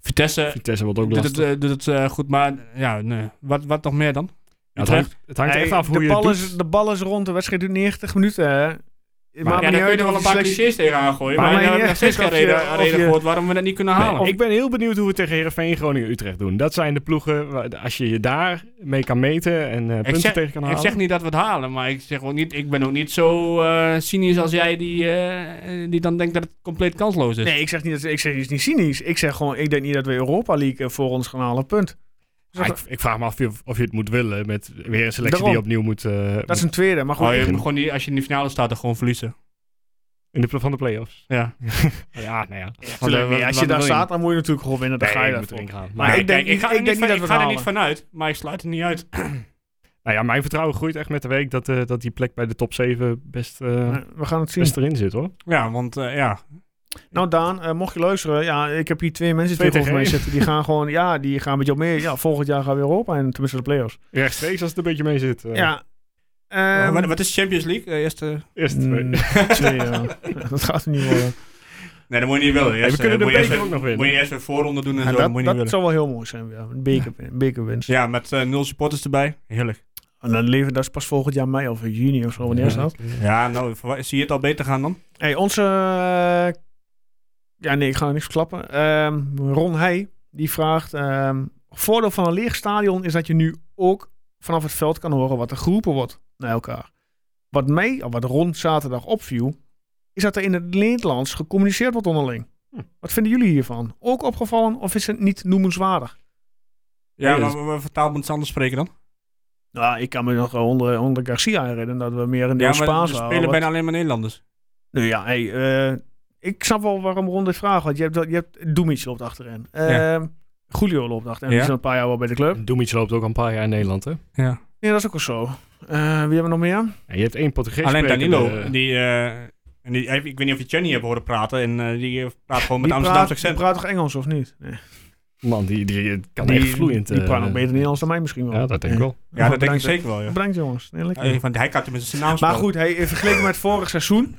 [SPEAKER 2] Vitesse
[SPEAKER 3] Vitesse wordt ook
[SPEAKER 2] doet
[SPEAKER 3] lastig.
[SPEAKER 2] het, eh, doet het eh, goed, maar ja, nee. wat, wat nog meer dan?
[SPEAKER 3] Ja, het,
[SPEAKER 2] Utrecht?
[SPEAKER 3] hangt, het hangt echt
[SPEAKER 1] Hey,
[SPEAKER 3] af hoe
[SPEAKER 1] de
[SPEAKER 3] je het
[SPEAKER 1] bal
[SPEAKER 3] doet.
[SPEAKER 1] Is, de bal is rond, de wedstrijd duurt 90 minuten. Hè. Het maakt
[SPEAKER 2] ja,
[SPEAKER 1] me
[SPEAKER 2] daar
[SPEAKER 1] niet
[SPEAKER 2] kun je
[SPEAKER 1] uit
[SPEAKER 2] er wel
[SPEAKER 1] of
[SPEAKER 2] een paar
[SPEAKER 1] die selectie-
[SPEAKER 2] clichés tegenaan gooien. Maar,
[SPEAKER 1] Maar mij
[SPEAKER 2] ik heb
[SPEAKER 1] niet
[SPEAKER 2] nog steeds geen
[SPEAKER 1] echt of je-
[SPEAKER 2] reden,
[SPEAKER 1] of
[SPEAKER 2] reden
[SPEAKER 1] je-
[SPEAKER 2] gehoord waarom we dat niet kunnen halen.
[SPEAKER 3] Ik ben heel benieuwd hoe we tegen Heerenveen Groningen Utrecht doen. Dat zijn de ploegen, waar- als je je daar mee kan meten en eh, punten
[SPEAKER 2] zeg-
[SPEAKER 3] tegen kan
[SPEAKER 2] ik
[SPEAKER 3] halen.
[SPEAKER 2] zeg niet dat we het halen, maar ik, zeg ook niet, ik ben ook niet zo eh, cynisch als jij die, eh, die dan denkt dat het compleet kansloos is.
[SPEAKER 1] Nee, ik zeg niet dat ik zeg het is niet cynisch. Ik zeg gewoon, ik denk niet dat we Europa League eh, voor ons gaan halen. Punt.
[SPEAKER 3] Ah, ik, ik vraag me af of je, of je het moet willen met weer een selectie
[SPEAKER 1] Daarom.
[SPEAKER 3] die je opnieuw moet, eh,
[SPEAKER 1] Dat is een tweede. Maar goed,
[SPEAKER 2] Oh, je
[SPEAKER 1] ik-
[SPEAKER 2] moet gewoon die, als je in de finale staat, dan gewoon verliezen.
[SPEAKER 3] in de pl- van de play-offs.
[SPEAKER 2] Ja.
[SPEAKER 3] Ja, nou ja.
[SPEAKER 1] tuurlijk,
[SPEAKER 2] Want, eh,
[SPEAKER 1] nee,
[SPEAKER 2] wat-
[SPEAKER 1] als je
[SPEAKER 2] wat
[SPEAKER 1] daar
[SPEAKER 2] wil je?
[SPEAKER 1] staat, dan moet je natuurlijk gewoon winnen. Dan
[SPEAKER 3] Nee,
[SPEAKER 1] ga je
[SPEAKER 3] ik moet
[SPEAKER 1] daarvoor.
[SPEAKER 3] erin gaan. Maar,
[SPEAKER 1] Maar ik denk
[SPEAKER 2] Kijk, ik
[SPEAKER 1] niet-
[SPEAKER 2] ga,
[SPEAKER 1] ik
[SPEAKER 2] er niet,
[SPEAKER 1] denk
[SPEAKER 2] van,
[SPEAKER 1] niet dat
[SPEAKER 2] ik
[SPEAKER 1] we
[SPEAKER 2] ga
[SPEAKER 1] het
[SPEAKER 2] er niet
[SPEAKER 1] halen.
[SPEAKER 2] vanuit, maar ik sluit er niet uit.
[SPEAKER 3] nou ja, mijn vertrouwen groeit echt met de week dat, eh, dat die plek bij de top 7 best, eh,
[SPEAKER 1] Maar We gaan het zien.
[SPEAKER 3] best erin zit hoor.
[SPEAKER 2] Ja, want eh, ja.
[SPEAKER 1] Nou Daan, eh, mocht je luisteren. Ja, ik heb hier twee mensen
[SPEAKER 3] Twee
[SPEAKER 1] tegenover mij
[SPEAKER 3] tegen
[SPEAKER 1] zitten. Die gaan gewoon, ja, die gaan met jou mee. Ja, volgend jaar gaan we Europa en tenminste de play-offs.
[SPEAKER 3] Rechtstreeks als het een beetje mee zit. eh,
[SPEAKER 1] Ja.
[SPEAKER 2] Maar
[SPEAKER 1] Ehm,
[SPEAKER 2] Oh, wat, wat is Champions League? Eh, eerste...
[SPEAKER 3] Eerst twee.
[SPEAKER 1] mm, twee, ja. Dat gaat er niet worden.
[SPEAKER 2] Nee, dat moet je niet willen.
[SPEAKER 3] Hey, we kunnen de beker ook nog
[SPEAKER 2] Moet je
[SPEAKER 3] winnen.
[SPEAKER 2] eerst weer voorronde doen en
[SPEAKER 1] Ja,
[SPEAKER 2] zo, dat
[SPEAKER 1] dat
[SPEAKER 2] moet je
[SPEAKER 1] dat
[SPEAKER 2] niet willen.
[SPEAKER 1] zou wel heel mooi zijn. Ja. Een beker, bekerwinst.
[SPEAKER 2] Ja, met eh, nul supporters erbij. Heerlijk.
[SPEAKER 1] En dan leven dat is pas volgend jaar mei of juni of zo. Wanneer is dat?
[SPEAKER 2] Ja, nou, verwa- zie je het al beter gaan dan?
[SPEAKER 1] Hey, onze. eh, ja, nee, ik ga er niks verklappen. Ehm, Ron Heij, die vraagt. ehm, voordeel van een leeg stadion is dat je nu ook vanaf het veld kan horen wat er geroepen wordt naar elkaar. Wat mij, of wat Ron zaterdag opviel, is dat er in het Nederlands gecommuniceerd wordt onderling.
[SPEAKER 3] Hm.
[SPEAKER 1] Wat vinden jullie hiervan? Ook opgevallen of is het niet noemenswaardig?
[SPEAKER 2] Ja,
[SPEAKER 3] Ja,
[SPEAKER 2] maar we, we vertaal moet iets anders spreken dan.
[SPEAKER 1] Nou, ik kan me nog onder, onder Garcia herinneren dat we meer een deel
[SPEAKER 2] Ja, maar er
[SPEAKER 1] Spaans
[SPEAKER 2] spelen
[SPEAKER 1] hadden.
[SPEAKER 2] bijna alleen maar Nederlanders.
[SPEAKER 1] Nou ja, hey, eh, ik snap wel waarom Ron dit vraagt. Want je hebt, dat- je hebt Dumic loopt achterin. Eh, Julio loopt achterin. Die
[SPEAKER 2] Ja.
[SPEAKER 1] is al een paar jaar wel bij de club.
[SPEAKER 3] Doemits loopt ook al een paar jaar in Nederland, hè?
[SPEAKER 2] Ja.
[SPEAKER 1] Ja, dat is ook wel zo. Eh, wie hebben we nog meer?
[SPEAKER 3] Ja, je hebt één Portugees
[SPEAKER 2] Alleen
[SPEAKER 3] sprekende-
[SPEAKER 2] Danilo, die, eh, en die, ik weet niet of je Chenny hebt horen praten. En eh, die praat gewoon met
[SPEAKER 1] Die
[SPEAKER 2] Amsterdamse
[SPEAKER 1] praat, die
[SPEAKER 2] accent.
[SPEAKER 1] praat toch Engels of niet? Nee.
[SPEAKER 3] Man, die, die eh, kan
[SPEAKER 1] die,
[SPEAKER 3] echt vloeiend.
[SPEAKER 1] Die
[SPEAKER 3] eh,
[SPEAKER 1] praat nog beter Nederlands dan mij misschien wel.
[SPEAKER 3] Ja, dat denk ik wel.
[SPEAKER 2] Ja, dat denk ik
[SPEAKER 1] Bedankt,
[SPEAKER 2] zeker wel, ja.
[SPEAKER 1] Bedankt jongens. Nee, lekker.
[SPEAKER 2] Ja, Want hij kan tenminste zijn naam
[SPEAKER 1] maar
[SPEAKER 2] spellen.
[SPEAKER 1] goed, hey, vergeleken met vorig seizoen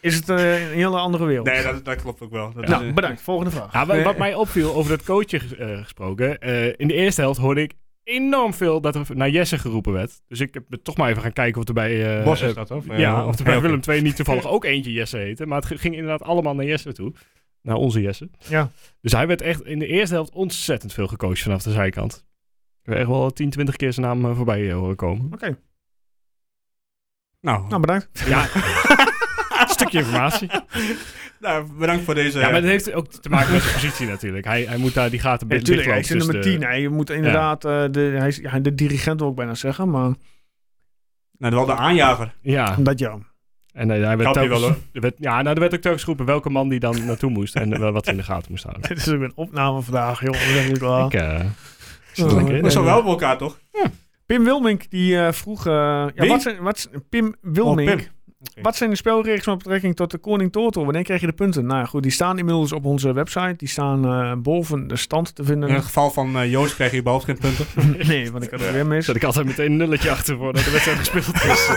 [SPEAKER 1] is het eh, een hele andere wereld.
[SPEAKER 2] Nee, dat, dat klopt ook wel. Dat is,
[SPEAKER 1] nou,
[SPEAKER 2] eh,
[SPEAKER 1] bedankt. Volgende vraag. Eh,
[SPEAKER 3] Ja, wa- wat mij opviel over dat coachje ges- eh, gesproken. eh, in de eerste helft hoorde ik enorm veel dat er naar Jesse geroepen werd. Dus ik heb me toch maar even gaan kijken of er bij... eh,
[SPEAKER 2] Bos is
[SPEAKER 3] eh,
[SPEAKER 2] dat, of?
[SPEAKER 3] Ja,
[SPEAKER 2] Ja,
[SPEAKER 3] of er bij
[SPEAKER 2] oké.
[SPEAKER 3] Willem II niet toevallig ook eentje Jesse heette. Maar het g- ging inderdaad allemaal naar Jesse toe. Naar onze Jesse.
[SPEAKER 1] Ja.
[SPEAKER 3] Dus hij werd echt in de eerste helft ontzettend veel gecoacht vanaf de zijkant. Ik heb echt wel 10, 20 keer zijn naam eh, voorbij eh, horen komen.
[SPEAKER 1] Oké,
[SPEAKER 2] nou,
[SPEAKER 1] nou bedankt.
[SPEAKER 3] Ja, stukje informatie.
[SPEAKER 2] nou, bedankt voor deze.
[SPEAKER 3] Ja, maar dat heeft ook te maken met zijn positie natuurlijk. Hij, hij moet daar die gaten
[SPEAKER 1] Ja,
[SPEAKER 3] binnen.
[SPEAKER 1] tuurlijk, hij is in nummer
[SPEAKER 3] dus
[SPEAKER 1] 10. Hij moet inderdaad, eh, de, hij is, ja, de dirigent wil ik bijna zeggen, maar
[SPEAKER 2] Nou, wel de aanjager.
[SPEAKER 3] Ja,
[SPEAKER 1] dat jou.
[SPEAKER 3] en eh, hij werd
[SPEAKER 2] Kan die
[SPEAKER 3] telkens-
[SPEAKER 2] wel, hoor.
[SPEAKER 3] er werd, ja, nou, er werd ook telkens geroepen welke man die dan naartoe moest en eh, wat hij in de gaten moest houden.
[SPEAKER 1] Dit is ook een opname vandaag, joh. Dat is eigenlijk wel-
[SPEAKER 3] Ik, eh,
[SPEAKER 1] Oh,
[SPEAKER 3] lekker, hè?
[SPEAKER 1] nee,
[SPEAKER 2] We zijn
[SPEAKER 1] nee.
[SPEAKER 2] wel bij elkaar, toch?
[SPEAKER 1] Pim Wilmink die eh, vroeg... eh, ja,
[SPEAKER 2] Wie?
[SPEAKER 1] wat zijn, wat, zijn- Pim Wilmink.
[SPEAKER 2] Oh, Pim. Oké.
[SPEAKER 1] Wat zijn de spelregels met betrekking tot de Koning Toto? Wanneer krijg je de punten? Nou ja, goed, die staan inmiddels op onze website. Die staan eh, boven de stand te vinden.
[SPEAKER 2] In het geval van eh, Joost krijg je überhaupt geen punten.
[SPEAKER 1] nee, want ik had er weer mis.
[SPEAKER 3] zet ik altijd meteen een nulletje achter voordat de wedstrijd gespeeld is.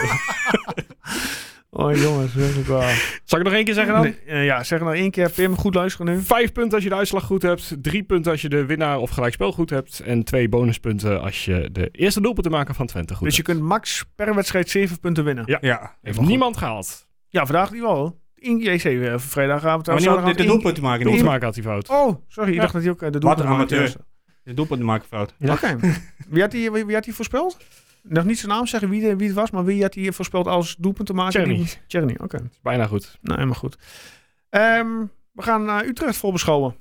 [SPEAKER 1] Oh jongens, werkelijk waar.
[SPEAKER 3] Zal ik nog één keer zeggen dan?
[SPEAKER 1] Nee, eh, ja, zeg nou één keer Pim, goed luisteren nu. Dus
[SPEAKER 3] Vijf punten als je de uitslag goed hebt. Drie punten als je de winnaar of gelijkspel goed hebt. En twee bonuspunten als je de eerste doelpunt te maken van Twente goed
[SPEAKER 1] dus je
[SPEAKER 3] hebt.
[SPEAKER 1] kunt max per wedstrijd 7 punten winnen.
[SPEAKER 3] Ja.
[SPEAKER 2] Ja.
[SPEAKER 3] Heeft niemand gehaald.
[SPEAKER 1] Ja, vandaag die wel. Eén keer zeven, eh, vrijdagavond.
[SPEAKER 2] Maar niemand dit
[SPEAKER 1] zaterdagavond,
[SPEAKER 2] de
[SPEAKER 1] één-
[SPEAKER 2] doelpunt te maken.
[SPEAKER 3] Doelpunt
[SPEAKER 2] Niet.
[SPEAKER 3] maken had hij fout.
[SPEAKER 1] Oh, sorry, ik
[SPEAKER 3] Ja.
[SPEAKER 1] dacht dat hij ook eh, de
[SPEAKER 2] Wat
[SPEAKER 1] doelpunt
[SPEAKER 2] een
[SPEAKER 1] maakte.
[SPEAKER 2] amateur. De doelpunt te maken fout.
[SPEAKER 3] Ja.
[SPEAKER 1] Oké. Wie, had die, wie, wie had die voorspeld? Nog niet zijn naam zeggen wie, de- wie het was, maar wie had die voorspeld als doelpunt te maken?
[SPEAKER 3] Tjerny.
[SPEAKER 1] Die- Tjerny, oké.
[SPEAKER 3] Bijna goed.
[SPEAKER 1] Nou, helemaal goed. Ehm, we gaan naar Utrecht voorbeschouwen.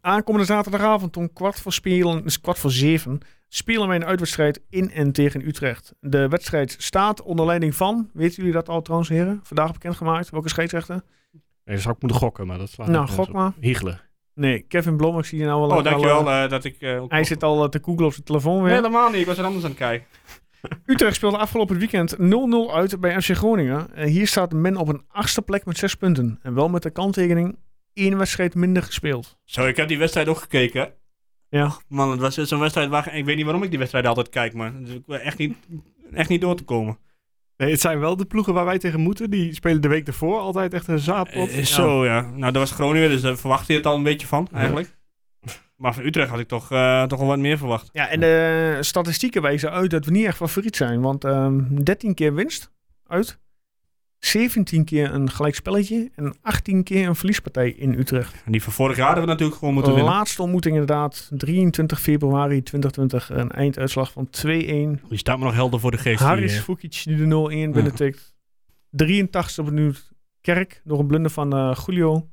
[SPEAKER 1] Aankomende zaterdagavond om kwart voor, spelen, dus kwart voor zeven spelen wij een uitwedstrijd in en tegen Utrecht. De wedstrijd staat onder leiding van, weten jullie dat al trouwens heren? Vandaag bekendgemaakt, welke scheidsrechter?
[SPEAKER 3] Nee, dan zou ik moeten gokken, maar dat slaat
[SPEAKER 1] nou,
[SPEAKER 3] nergens
[SPEAKER 1] gok
[SPEAKER 3] op.
[SPEAKER 1] maar.
[SPEAKER 3] Hiegelen.
[SPEAKER 1] Nee, Kevin Blom, ik zie je nou wel.
[SPEAKER 2] Oh,
[SPEAKER 1] al-
[SPEAKER 2] dankjewel
[SPEAKER 1] al, eh,
[SPEAKER 2] eh, dat ik... eh, ook-
[SPEAKER 1] hij zit al eh, te googlen op zijn telefoon
[SPEAKER 2] Nee,
[SPEAKER 1] weer.
[SPEAKER 2] helemaal niet. Ik was er anders aan het kijken.
[SPEAKER 1] Utrecht speelde afgelopen weekend 0-0 uit bij FC Groningen. En hier staat men op een achtste plek met zes punten. En wel met de kanttekening één wedstrijd minder gespeeld.
[SPEAKER 2] Zo, ik heb die wedstrijd ook gekeken.
[SPEAKER 1] Ja.
[SPEAKER 2] Man, het was zo'n wedstrijd waar... Ik weet niet waarom ik die wedstrijd altijd kijk, maar het is ook echt niet, echt niet door te komen.
[SPEAKER 3] Nee, het zijn wel de ploegen waar wij tegen moeten. Die spelen de week ervoor altijd echt een zaadpot.
[SPEAKER 2] Eh, Zo, ja. Nou, dat was Groningen, dus daar verwacht je het al een beetje van, eigenlijk. Maar van Utrecht had ik toch, eh, toch wel wat meer verwacht.
[SPEAKER 1] Ja, en de statistieken wijzen uit dat we niet echt favoriet zijn. Want ehm 13 keer winst uit. 17 keer een gelijk spelletje. En 18 keer een verliespartij in Utrecht.
[SPEAKER 2] En die van vorig jaar hadden we natuurlijk gewoon moeten
[SPEAKER 1] De
[SPEAKER 2] winnen.
[SPEAKER 1] laatste ontmoeting inderdaad. 23 februari 2020. Een einduitslag van 2-1.
[SPEAKER 2] Die staat me nog helder voor de geest.
[SPEAKER 1] Haris
[SPEAKER 2] hier. eh,
[SPEAKER 1] Fukic die de 0-1 binnentikt. 83e minuut Kerk door een blunder van eh, Julio.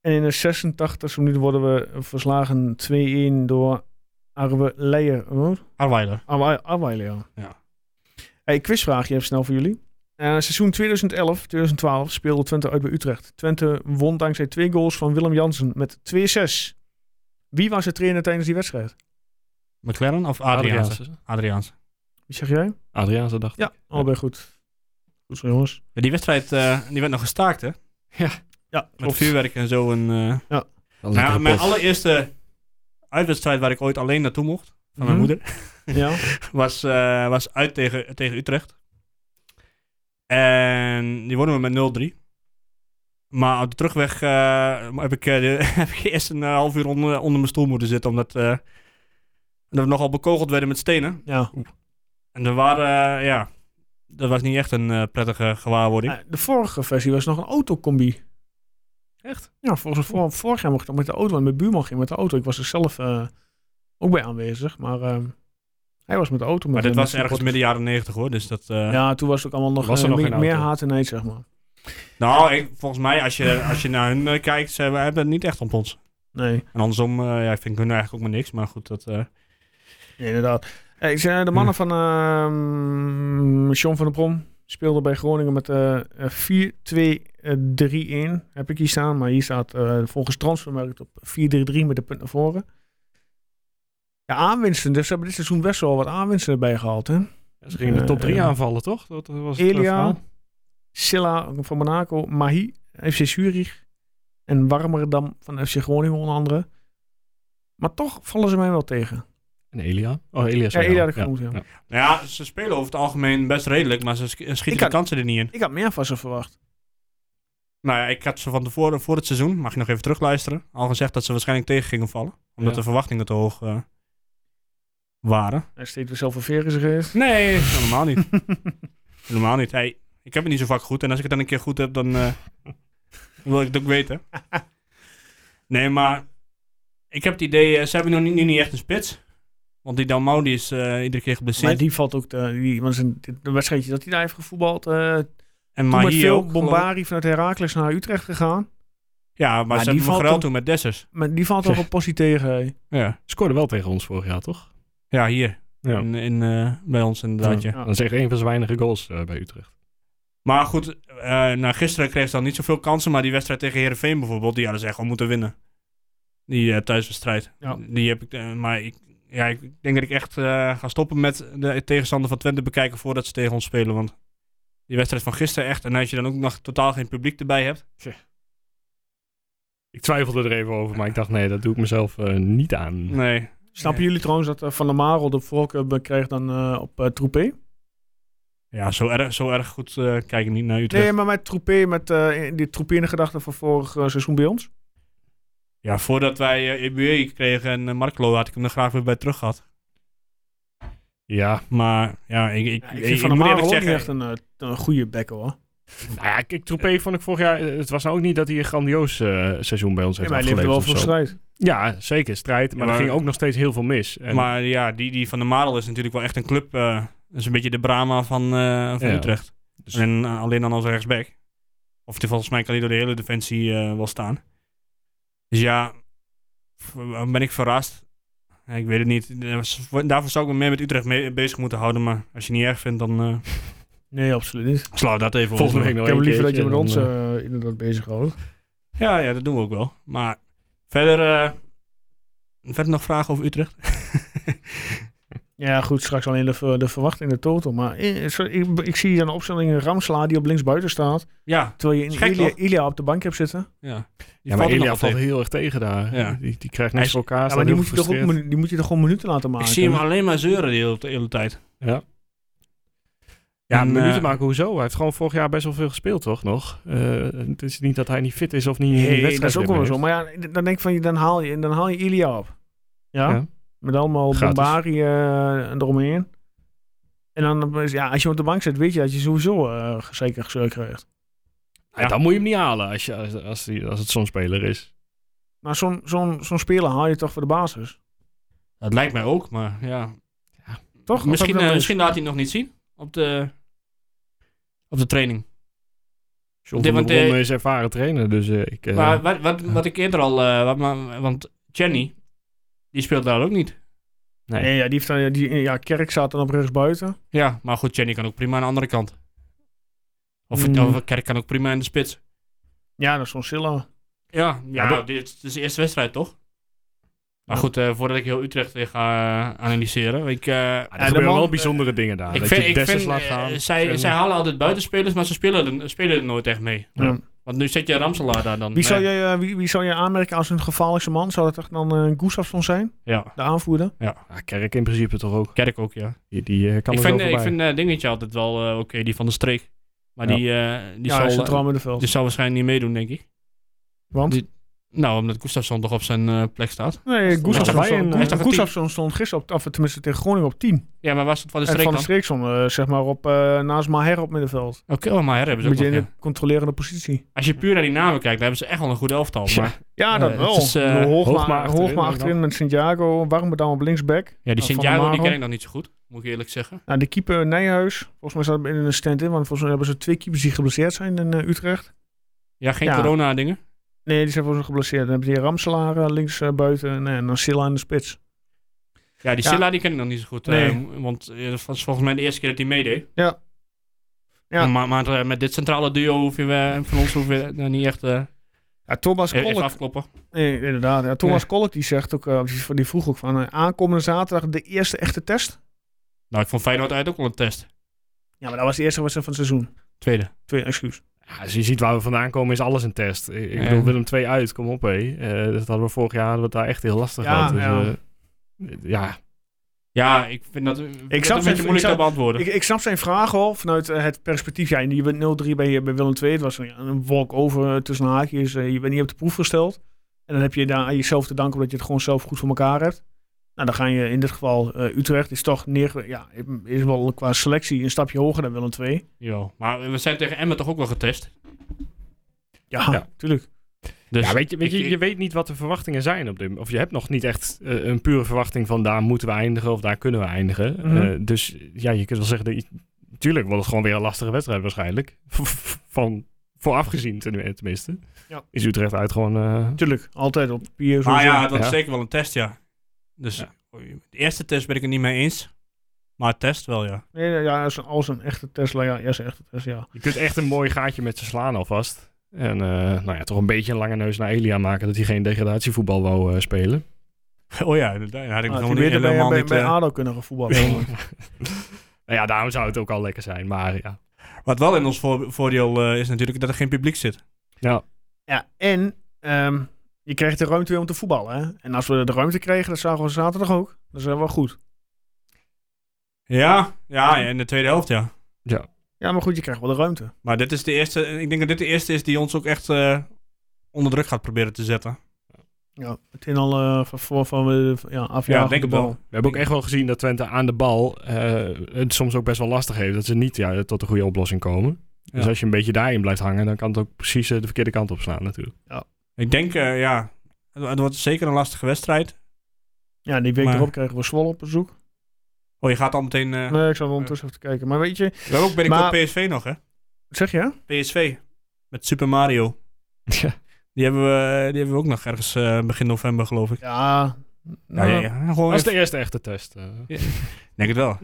[SPEAKER 1] En in de 86e minuut worden we verslagen 2-1 door Arwe Leijer. Oh,
[SPEAKER 2] Arweiler.
[SPEAKER 1] Arwe- Arwe Leijer.
[SPEAKER 2] Ja.
[SPEAKER 1] Hey, quizvraagje even snel voor jullie. Eh, seizoen 2011-2012 speelde Twente uit bij Utrecht. Twente won dankzij twee goals van Willem Jansen met 2-6. Wie was de trainer tijdens die wedstrijd?
[SPEAKER 2] McLaren of Adriaanse?
[SPEAKER 3] Adriaanse.
[SPEAKER 2] Adriaanse.
[SPEAKER 1] Wie zeg jij?
[SPEAKER 3] Adriaanse dacht.
[SPEAKER 1] Ja, allebei goed. Goed zo jongens.
[SPEAKER 2] Ja, Die wedstrijd eh, die werd nog gestaakt, hè?
[SPEAKER 1] Ja,
[SPEAKER 2] Met
[SPEAKER 1] klopt.
[SPEAKER 2] vuurwerk en zo. En, eh, nou, ja, mijn allereerste uitwedstrijd waar ik ooit alleen naartoe mocht, van
[SPEAKER 1] Mhm.
[SPEAKER 2] mijn moeder.
[SPEAKER 1] Ja.
[SPEAKER 2] was, eh, was uit tegen, tegen Utrecht. En die wonnen we met 0-3. Maar op de terugweg eh, heb, ik, eh, de- heb ik eerst een eh, half uur onder, onder mijn stoel moeten zitten. Omdat eh, omdat we nogal bekogeld werden met stenen.
[SPEAKER 1] Ja.
[SPEAKER 2] En er waren, eh, ja, dat was niet echt een eh, prettige gewaarwording.
[SPEAKER 1] Eh, De vorige versie was nog een autocombi.
[SPEAKER 3] Echt?
[SPEAKER 1] Ja, volgens mij vor- vorig jaar mocht ik nog met de auto. En mijn buurman ging met de auto. Ik was er zelf eh, ook bij aanwezig. Maar ehm, hij was met de auto.
[SPEAKER 2] maar dit
[SPEAKER 1] met-
[SPEAKER 2] was
[SPEAKER 1] met
[SPEAKER 2] ergens
[SPEAKER 1] supporters.
[SPEAKER 2] midden jaren 90 hoor. Dus dat, eh,
[SPEAKER 1] Ja, toen was het ook allemaal nog,
[SPEAKER 3] Was
[SPEAKER 1] eh,
[SPEAKER 3] er nog
[SPEAKER 1] meer,
[SPEAKER 3] geen
[SPEAKER 1] meer
[SPEAKER 3] auto?
[SPEAKER 1] haat en heet, zeg maar.
[SPEAKER 2] Nou, ik- volgens mij, als je, als je naar hun eh, kijkt, ze hebben hebben het niet echt op ons.
[SPEAKER 1] Nee.
[SPEAKER 2] En andersom, eh, ja, ik vind hun eigenlijk ook maar niks. Maar goed, dat... eh,
[SPEAKER 1] inderdaad. Hey, ik zei, de mannen van ehm John van der Brom speelden bij Groningen met eh, eh, 4-2-3-1. Heb ik hier staan, maar hier staat eh, volgens Transfermarkt op 4-3-3 met de punt naar voren. Ja, aanwinsten. Dus ze hebben dit seizoen best wel wat aanwinsten erbij gehaald. Hè?
[SPEAKER 3] Ze gingen de top 3
[SPEAKER 1] Eh,
[SPEAKER 3] aanvallen, toch? Dat was het eh,
[SPEAKER 1] Elia,
[SPEAKER 3] verhaal.
[SPEAKER 1] Silla van Monaco, Mahi, FC Zurich en Warmerdam van FC Groningen onder andere. Maar toch vallen ze mij wel tegen.
[SPEAKER 3] En Elia. Oh, Elia is
[SPEAKER 1] Ja,
[SPEAKER 3] wel
[SPEAKER 1] Elia had
[SPEAKER 3] jou.
[SPEAKER 1] ik genoemd, ja.
[SPEAKER 2] Nou ja, ze spelen over het algemeen best redelijk, maar ze sch- schieten
[SPEAKER 1] Ik
[SPEAKER 2] de
[SPEAKER 1] had-
[SPEAKER 2] kansen er niet in.
[SPEAKER 1] Ik had meer van ze verwacht.
[SPEAKER 2] Nou ja, ik had ze van tevoren, voor het seizoen, mag je nog even terugluisteren, al gezegd dat ze waarschijnlijk tegen gingen vallen. Omdat
[SPEAKER 3] Ja.
[SPEAKER 2] de verwachtingen te hoog eh, waren.
[SPEAKER 1] Hij steekt weer zelf een veer in zijn geest.
[SPEAKER 2] Nee, helemaal niet. helemaal niet. Hey, ik heb het niet zo vaak goed en als ik het dan een keer goed heb, dan eh, wil ik het ook weten. Nee, maar ik heb het idee, eh, ze hebben nog niet, nu niet echt een spits. Want die Dalmau die is eh, iedere keer
[SPEAKER 1] Maar
[SPEAKER 2] geblesseerd.
[SPEAKER 1] die valt ook, de, die, want zijn- dit- de wedstrijdje dat hij daar heeft gevoetbald. eh
[SPEAKER 2] en
[SPEAKER 1] toen
[SPEAKER 2] maar
[SPEAKER 1] met
[SPEAKER 2] hier
[SPEAKER 1] veel
[SPEAKER 2] ook. geloof ik.
[SPEAKER 1] Bombari vanuit Heracles naar Utrecht gegaan.
[SPEAKER 2] Ja, maar
[SPEAKER 1] Maar die
[SPEAKER 2] ze hebben hem
[SPEAKER 1] valt
[SPEAKER 2] geruild
[SPEAKER 1] dan-
[SPEAKER 2] toen met Dessers.
[SPEAKER 1] Maar die valt ook op passie tegen. hè.
[SPEAKER 2] Ja.
[SPEAKER 3] Scoorde wel tegen ons vorig jaar, toch?
[SPEAKER 2] ja, hier.
[SPEAKER 3] Ja.
[SPEAKER 2] In, in, eh, bij ons inderdaad, ja.
[SPEAKER 1] Ja.
[SPEAKER 3] Dat is echt een van zijn weinige goals eh, bij Utrecht.
[SPEAKER 2] Maar goed, eh, nou, gisteren kreeg ze dan niet zoveel kansen. Maar die wedstrijd tegen Herenveen bijvoorbeeld, die hadden ze echt wel moeten winnen. Die eh, thuiswedstrijd.
[SPEAKER 1] Ja.
[SPEAKER 2] Die heb ik, eh, maar ik, ja, ik denk dat ik echt eh, ga stoppen met de tegenstander van Twente bekijken voordat ze tegen ons spelen. Want die wedstrijd van gisteren echt. En als je dan ook nog totaal geen publiek erbij hebt.
[SPEAKER 3] Ik twijfelde er even over, maar ik dacht, nee, dat doe ik mezelf eh, niet aan.
[SPEAKER 2] Nee.
[SPEAKER 1] Snappen jullie trouwens dat eh, Van der Marel de voorkeur be- kreeg dan eh, op eh Troepé?
[SPEAKER 2] Ja, zo erg, zo erg goed eh, kijk ik niet naar Utrecht.
[SPEAKER 1] Nee, maar met Troepé, met eh, die Troepé in de gedachten van vorig eh, seizoen bij ons.
[SPEAKER 2] Ja, voordat wij eh EBA kregen en eh, Marklo had ik hem er graag weer bij terug gehad.
[SPEAKER 3] Ja,
[SPEAKER 2] Maar ja, ik, ik,
[SPEAKER 1] Ja,
[SPEAKER 2] ik,
[SPEAKER 1] ik vind Van der
[SPEAKER 2] moet
[SPEAKER 1] Marel
[SPEAKER 2] eerlijk
[SPEAKER 1] ook niet
[SPEAKER 2] zeggen.
[SPEAKER 1] echt een, eh, een goede bekker hoor.
[SPEAKER 3] nou ja, kijk, Troepé vond ik vorig jaar... eh, Het was nou ook niet dat hij een grandioos eh, seizoen bij ons
[SPEAKER 1] Nee,
[SPEAKER 3] heeft
[SPEAKER 1] maar hij leefde
[SPEAKER 3] afgeleverd
[SPEAKER 1] wel
[SPEAKER 3] of
[SPEAKER 1] voor
[SPEAKER 3] zo.
[SPEAKER 1] strijd.
[SPEAKER 3] Ja, zeker, strijd. Maar,
[SPEAKER 2] Ja, maar-
[SPEAKER 3] er ging ook nog steeds heel veel mis. En,
[SPEAKER 2] Maar ja, die, die van de Marel is natuurlijk wel echt een club. eh, dat is een beetje de Brahma van, eh, van
[SPEAKER 3] Ja.
[SPEAKER 2] Utrecht.
[SPEAKER 3] Dus-
[SPEAKER 2] En eh, alleen dan als rechtsback. Of die, volgens mij kan hij door de hele defensie eh, wel staan. Dus ja, v- eh, ben ik verrast. Ja, ik weet het niet. Eh, s- Daarvoor zou ik me meer met Utrecht mee- bezig moeten houden. Maar als je het niet erg vindt, dan eh
[SPEAKER 1] Nee, absoluut niet.
[SPEAKER 2] sla dat even
[SPEAKER 3] volgende
[SPEAKER 2] over.
[SPEAKER 3] week nog
[SPEAKER 1] ik heb
[SPEAKER 3] één
[SPEAKER 1] liever dat je
[SPEAKER 3] keertje
[SPEAKER 1] met
[SPEAKER 3] en
[SPEAKER 1] ons
[SPEAKER 3] dan, eh,
[SPEAKER 1] eh, inderdaad bezig houdt.
[SPEAKER 2] Ja, ja, dat doen we ook wel. Maar verder, eh, verder nog vragen over Utrecht?
[SPEAKER 1] Ja, goed, straks alleen de, ver- de verwachting, de total. Maar eh, zo- ik, ik, zie dan een opstelling Ramsla die op links buiten staat.
[SPEAKER 2] Ja,
[SPEAKER 1] Terwijl je
[SPEAKER 2] Is
[SPEAKER 1] in
[SPEAKER 2] gek,
[SPEAKER 1] Ilia,
[SPEAKER 2] toch?
[SPEAKER 1] Ilia op de bank hebt zitten.
[SPEAKER 2] ja. Die
[SPEAKER 3] ja,
[SPEAKER 2] valt
[SPEAKER 3] maar
[SPEAKER 2] er
[SPEAKER 3] Elia
[SPEAKER 2] nog
[SPEAKER 3] valt
[SPEAKER 2] tegen.
[SPEAKER 3] heel erg tegen daar.
[SPEAKER 2] Ja.
[SPEAKER 3] Die, die krijgt
[SPEAKER 2] Hij
[SPEAKER 3] niks
[SPEAKER 2] is-
[SPEAKER 3] voor elkaar.
[SPEAKER 1] Ja,
[SPEAKER 3] staat
[SPEAKER 1] maar die
[SPEAKER 3] heel
[SPEAKER 1] moet, je toch ook,
[SPEAKER 3] gefrustreerd.
[SPEAKER 1] minu- die moet je toch gewoon minuten laten maken.
[SPEAKER 2] Ik zie hem alleen maar zeuren de hele, de hele tijd.
[SPEAKER 3] Ja,
[SPEAKER 2] En,
[SPEAKER 3] minuten
[SPEAKER 2] eh,
[SPEAKER 3] maken, hoezo? Hij heeft gewoon vorig jaar best wel veel gespeeld, toch? Nog. Eh, het is niet dat hij niet fit is of niet in die
[SPEAKER 1] Nee, dat
[SPEAKER 3] wedstrijd
[SPEAKER 1] is ook
[SPEAKER 3] weer
[SPEAKER 1] wel
[SPEAKER 3] mee
[SPEAKER 1] zo.
[SPEAKER 3] heeft.
[SPEAKER 1] Maar ja, dan denk ik van, je- dan haal je, dan haal je Ilia op. Ja?
[SPEAKER 3] Ja.
[SPEAKER 1] Met allemaal
[SPEAKER 3] Gratis.
[SPEAKER 1] Bombari eh, eromheen. En dan, eh, ja, als je hem op de bank zit, weet je dat je sowieso eh, zeker gezeur krijgt.
[SPEAKER 3] Ja, Dan moet je hem niet halen als, je, als, als, die, als het zo'n speler is.
[SPEAKER 1] Maar zo'n zo'n zo'n speler haal je toch voor de basis?
[SPEAKER 2] Dat lijkt mij ook, maar ja.
[SPEAKER 1] Toch? Of heb je
[SPEAKER 2] misschien,
[SPEAKER 1] dat
[SPEAKER 2] eh,
[SPEAKER 1] niet?
[SPEAKER 2] misschien laat hij het nog niet zien op de, op de training.
[SPEAKER 3] John
[SPEAKER 2] Dit-
[SPEAKER 3] van der
[SPEAKER 2] want, eh,
[SPEAKER 3] Brom is ervaren trainer, dus eh, ik... eh,
[SPEAKER 2] Maar wat, wat, wat ik eerder al. eh, wat, maar, want Jenny, die speelt daar ook niet.
[SPEAKER 1] Nee, ja, die heeft, dan- die, ja, Kerk staat dan op rechtsbuiten.
[SPEAKER 2] Ja, maar goed, Jenny kan ook prima aan de andere kant. Of,
[SPEAKER 1] Hmm.
[SPEAKER 2] of Kerk kan ook prima in de spits.
[SPEAKER 1] Ja, dat is zo'n Silla.
[SPEAKER 2] Ja,
[SPEAKER 1] Ja,
[SPEAKER 2] ja,
[SPEAKER 1] dat-
[SPEAKER 2] dit, is- dit is de eerste wedstrijd toch? Maar
[SPEAKER 1] Ja.
[SPEAKER 2] goed, eh, voordat ik heel Utrecht weer ga eh, analyseren. Ik, eh,
[SPEAKER 3] Ja,
[SPEAKER 1] de
[SPEAKER 3] er gebeuren
[SPEAKER 1] man-
[SPEAKER 3] wel bijzondere dingen daar.
[SPEAKER 2] ik
[SPEAKER 3] dat
[SPEAKER 2] vind,
[SPEAKER 3] je
[SPEAKER 2] ik
[SPEAKER 3] Dessers
[SPEAKER 2] vind,
[SPEAKER 3] laat
[SPEAKER 2] eh,
[SPEAKER 3] gaan.
[SPEAKER 2] zij,
[SPEAKER 3] En-
[SPEAKER 2] zij halen altijd buitenspelers, maar ze spelen er, spelen er nooit echt mee.
[SPEAKER 1] Ja.
[SPEAKER 2] Want nu zet je Ramselaar daar dan.
[SPEAKER 1] Wie, zou
[SPEAKER 2] Nee.
[SPEAKER 1] je, eh, wie, wie zou je aanmerken als een gevaarlijkste man? Zou dat toch dan eh Gustafsson zijn,
[SPEAKER 2] Ja.
[SPEAKER 1] de aanvoerder?
[SPEAKER 3] Ja, Ah, Kerk in principe toch ook.
[SPEAKER 2] Kerk ook, ja.
[SPEAKER 3] Die, die eh, kan
[SPEAKER 2] ik
[SPEAKER 3] er
[SPEAKER 2] vind,
[SPEAKER 3] zo
[SPEAKER 2] eh, ik
[SPEAKER 3] voorbij.
[SPEAKER 2] vind eh, Dingetje altijd wel eh, oké, die van de streek. Maar
[SPEAKER 3] Ja.
[SPEAKER 2] die, eh, die,
[SPEAKER 1] ja, hij is
[SPEAKER 2] zal,
[SPEAKER 1] centraal middenveld.
[SPEAKER 2] die zal waarschijnlijk niet meedoen, denk ik.
[SPEAKER 1] Want?
[SPEAKER 2] die- Nou, omdat Gustafsson toch op zijn eh, plek staat.
[SPEAKER 1] nee,
[SPEAKER 3] Hij is
[SPEAKER 1] Gustafsson,
[SPEAKER 3] toch
[SPEAKER 2] een tien?
[SPEAKER 1] Gustafsson stond gisteren op, of tenminste tegen Groningen op 10.
[SPEAKER 2] Ja, maar waar staat Van de
[SPEAKER 1] En
[SPEAKER 2] Streek
[SPEAKER 1] Van de
[SPEAKER 2] dan?
[SPEAKER 1] Streek stond, eh, zeg maar, op, eh, naast Maher op middenveld.
[SPEAKER 2] Oké, oh, maar hebben ze
[SPEAKER 1] Een
[SPEAKER 2] ook
[SPEAKER 1] beetje in
[SPEAKER 2] nog,
[SPEAKER 1] de
[SPEAKER 2] ja.
[SPEAKER 1] controlerende positie.
[SPEAKER 2] Als je puur naar die namen kijkt, dan hebben ze echt wel een goed elftal.
[SPEAKER 3] Ja.
[SPEAKER 2] Maar
[SPEAKER 1] Ja,
[SPEAKER 2] Eh,
[SPEAKER 1] dat
[SPEAKER 2] het
[SPEAKER 1] wel.
[SPEAKER 2] is, eh,
[SPEAKER 1] Hoogma,
[SPEAKER 3] Hoogma
[SPEAKER 1] Hoogma
[SPEAKER 3] achterin
[SPEAKER 1] achterin,
[SPEAKER 3] dan.
[SPEAKER 1] met Santiago. Warmerdam op linksback.
[SPEAKER 2] ja, die
[SPEAKER 1] eh, Van der
[SPEAKER 2] Santiago die
[SPEAKER 1] Marel.
[SPEAKER 2] ken ik nog niet zo goed, moet ik eerlijk zeggen.
[SPEAKER 1] Nou, de keeper Nijhuis. Volgens mij staat hem in een stand-in. Want volgens mij hebben ze twee keepers die geblesseerd zijn in eh, Utrecht.
[SPEAKER 2] Ja, geen
[SPEAKER 1] Ja.
[SPEAKER 2] corona-dingen.
[SPEAKER 1] Nee, die zijn volgens mij geblesseerd. Dan heb je die Ramselaar eh, links eh, buiten en, en dan Silla in de spits.
[SPEAKER 2] Ja, die
[SPEAKER 1] Ja.
[SPEAKER 2] Silla die ken ik nog niet zo goed. eh,
[SPEAKER 1] Nee.
[SPEAKER 2] m- want eh, dat was volgens mij de eerste keer dat hij meedeed.
[SPEAKER 1] Ja. Ja.
[SPEAKER 2] Maar, maar eh, met dit centrale duo hoef je eh, van ons hoef je eh, niet echt eh,
[SPEAKER 1] Ja, Thomas
[SPEAKER 2] even
[SPEAKER 1] Kolk,
[SPEAKER 2] afkloppen.
[SPEAKER 1] nee, inderdaad. Ja, Thomas Kolk die zegt ook, eh, die- die vroeg ook van eh, aankomende zaterdag de eerste echte test.
[SPEAKER 2] Nou, ik vond Feyenoord uit ook wel een test.
[SPEAKER 1] Ja, maar dat was de eerste wedstrijd van het seizoen.
[SPEAKER 2] Tweede.
[SPEAKER 1] Twee, excuus.
[SPEAKER 3] Ja, als je ziet waar we vandaan komen, is alles een test. Ik, ik
[SPEAKER 2] Ja.
[SPEAKER 3] bedoel, Willem 2 uit, kom op hé. Eh, dat hadden we vorig jaar hadden we het daar echt heel lastig
[SPEAKER 1] Ja,
[SPEAKER 3] gehad. Dus,
[SPEAKER 1] ja.
[SPEAKER 3] eh, ja,
[SPEAKER 2] Ja, ik vind dat, ik vind dat
[SPEAKER 1] snap
[SPEAKER 2] een
[SPEAKER 1] het,
[SPEAKER 2] beetje
[SPEAKER 1] ik
[SPEAKER 2] moeilijk te
[SPEAKER 1] snap-
[SPEAKER 2] beantwoorden.
[SPEAKER 1] Ik, ik snap zijn vraag wel vanuit eh, het perspectief. Ja, je bent 0-3 bij, eh, bij Willem II. Het was een, een walk-over eh, tussen haakjes. Eh, je bent niet op de proef gesteld. En dan heb je daar aan jezelf te danken omdat je het gewoon zelf goed voor elkaar hebt. Nou, dan ga je in dit geval... eh, Utrecht is toch neer, ja, is wel qua selectie een stapje hoger dan Willem II.
[SPEAKER 2] Ja, maar we zijn tegen Emmen toch ook wel getest.
[SPEAKER 1] Ja,
[SPEAKER 3] Ja.
[SPEAKER 1] tuurlijk.
[SPEAKER 2] Dus
[SPEAKER 3] ja weet je, weet je,
[SPEAKER 2] ik- ik-
[SPEAKER 3] je weet niet wat de verwachtingen zijn op dit Of je hebt nog niet echt eh, een pure verwachting van daar moeten we eindigen of daar kunnen we eindigen.
[SPEAKER 1] Mhm.
[SPEAKER 3] Eh, dus ja, je kunt wel zeggen, dat, je- tuurlijk wordt het gewoon weer een lastige wedstrijd waarschijnlijk. Van, vooraf gezien ten- eh, tenminste.
[SPEAKER 1] Ja.
[SPEAKER 3] Is Utrecht uit gewoon... eh,
[SPEAKER 1] Tuurlijk. Altijd op papier.
[SPEAKER 2] Maar
[SPEAKER 1] sowieso.
[SPEAKER 2] Ah, ja, dat is
[SPEAKER 3] Ja.
[SPEAKER 2] zeker wel een test, ja. Dus de eerste test ben ik het niet mee eens. Maar test wel, ja.
[SPEAKER 1] Nee, nee, ja, als een, als een echte Tesla. Ja, ja, is een echte Tesla, ja.
[SPEAKER 3] Je kunt echt een mooi gaatje met ze slaan alvast. En eh, nou ja, toch een beetje een lange neus naar Elia maken dat hij geen degradatievoetbal wou eh, spelen.
[SPEAKER 2] Oh ja, inderdaad. Had ik
[SPEAKER 1] Ah,
[SPEAKER 2] nog
[SPEAKER 1] die
[SPEAKER 2] niet,
[SPEAKER 1] beter bij,
[SPEAKER 2] helemaal
[SPEAKER 1] bij,
[SPEAKER 2] niet...
[SPEAKER 1] bij
[SPEAKER 2] eh,
[SPEAKER 1] ADO kunnen gevoetballen.
[SPEAKER 3] Nou ja, daarom zou het ook al lekker zijn. Maar ja,
[SPEAKER 2] wat wel in ons voor- voordeel eh, is natuurlijk dat er geen publiek zit.
[SPEAKER 1] Ja, en ehm, je kreeg de ruimte weer om te voetballen. Hè? En als we de ruimte kregen, dat zagen we zaterdag ook. Dat is eh, wel goed.
[SPEAKER 2] Ja, ja, in de tweede helft, ja.
[SPEAKER 1] Ja, maar goed, je krijgt wel de ruimte.
[SPEAKER 2] Maar dit is de eerste... Ik denk dat dit de eerste is die ons ook echt eh, onder druk gaat proberen te zetten.
[SPEAKER 1] Ja, meteen al eh, van voor van eh, van- ja, afjagen
[SPEAKER 2] Ja, denk
[SPEAKER 1] de
[SPEAKER 2] ik
[SPEAKER 1] bal.
[SPEAKER 2] wel.
[SPEAKER 3] we hebben ook echt wel gezien dat Twente aan de bal eh, het soms ook best wel lastig heeft. Dat ze niet ja, tot een goede oplossing komen. Dus
[SPEAKER 2] Ja.
[SPEAKER 3] als je een beetje daarin blijft hangen, dan kan het ook precies eh, de verkeerde kant op slaan natuurlijk.
[SPEAKER 2] Ik denk, eh, ja... Het, het wordt zeker een lastige wedstrijd.
[SPEAKER 1] Ja, die week
[SPEAKER 2] Maar-
[SPEAKER 1] erop kregen we Zwolle op bezoek.
[SPEAKER 2] Oh, je gaat al meteen... eh,
[SPEAKER 1] Nee, ik zal wel ondertussen even kijken. Maar weet je,
[SPEAKER 2] We hebben ook binnenkort
[SPEAKER 1] Maar-
[SPEAKER 2] PSV nog, hè?
[SPEAKER 1] zeg je? hè?
[SPEAKER 2] PSV. Met Super Mario.
[SPEAKER 3] Ja.
[SPEAKER 2] Die hebben we, die hebben we ook nog ergens eh, begin november, geloof ik.
[SPEAKER 1] Ja.
[SPEAKER 2] Ja,
[SPEAKER 1] nou,
[SPEAKER 2] ja, ja. Gewoon
[SPEAKER 3] Dat is
[SPEAKER 2] even-
[SPEAKER 3] de eerste echte test. eh.
[SPEAKER 2] Denk het wel.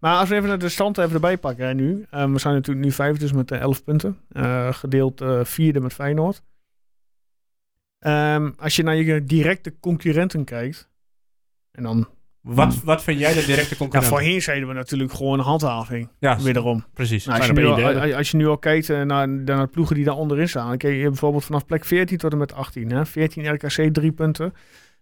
[SPEAKER 1] Maar als we even de stand even erbij pakken hè, nu. Eh, we zijn natuurlijk nu vijf, dus met eh, 11 punten. Eh, gedeeld eh, vierde met Feyenoord. Ehm, als je naar je directe concurrenten kijkt. En dan
[SPEAKER 2] Wat, wat vind jij de directe
[SPEAKER 1] Ja,
[SPEAKER 2] concurrent?
[SPEAKER 1] voorheen zeiden we natuurlijk gewoon handhaving.
[SPEAKER 2] Ja,
[SPEAKER 1] Wederom.
[SPEAKER 2] precies.
[SPEAKER 1] Nou, als, je
[SPEAKER 3] Zijn
[SPEAKER 1] nu
[SPEAKER 3] er maar
[SPEAKER 1] al,
[SPEAKER 3] één derde.
[SPEAKER 1] als- als je nu al kijkt eh, naar, naar de ploegen die daar onderin staan. Dan kijk je bijvoorbeeld vanaf plek 14 tot en met 18. Hè? 14 RKC 3 punten.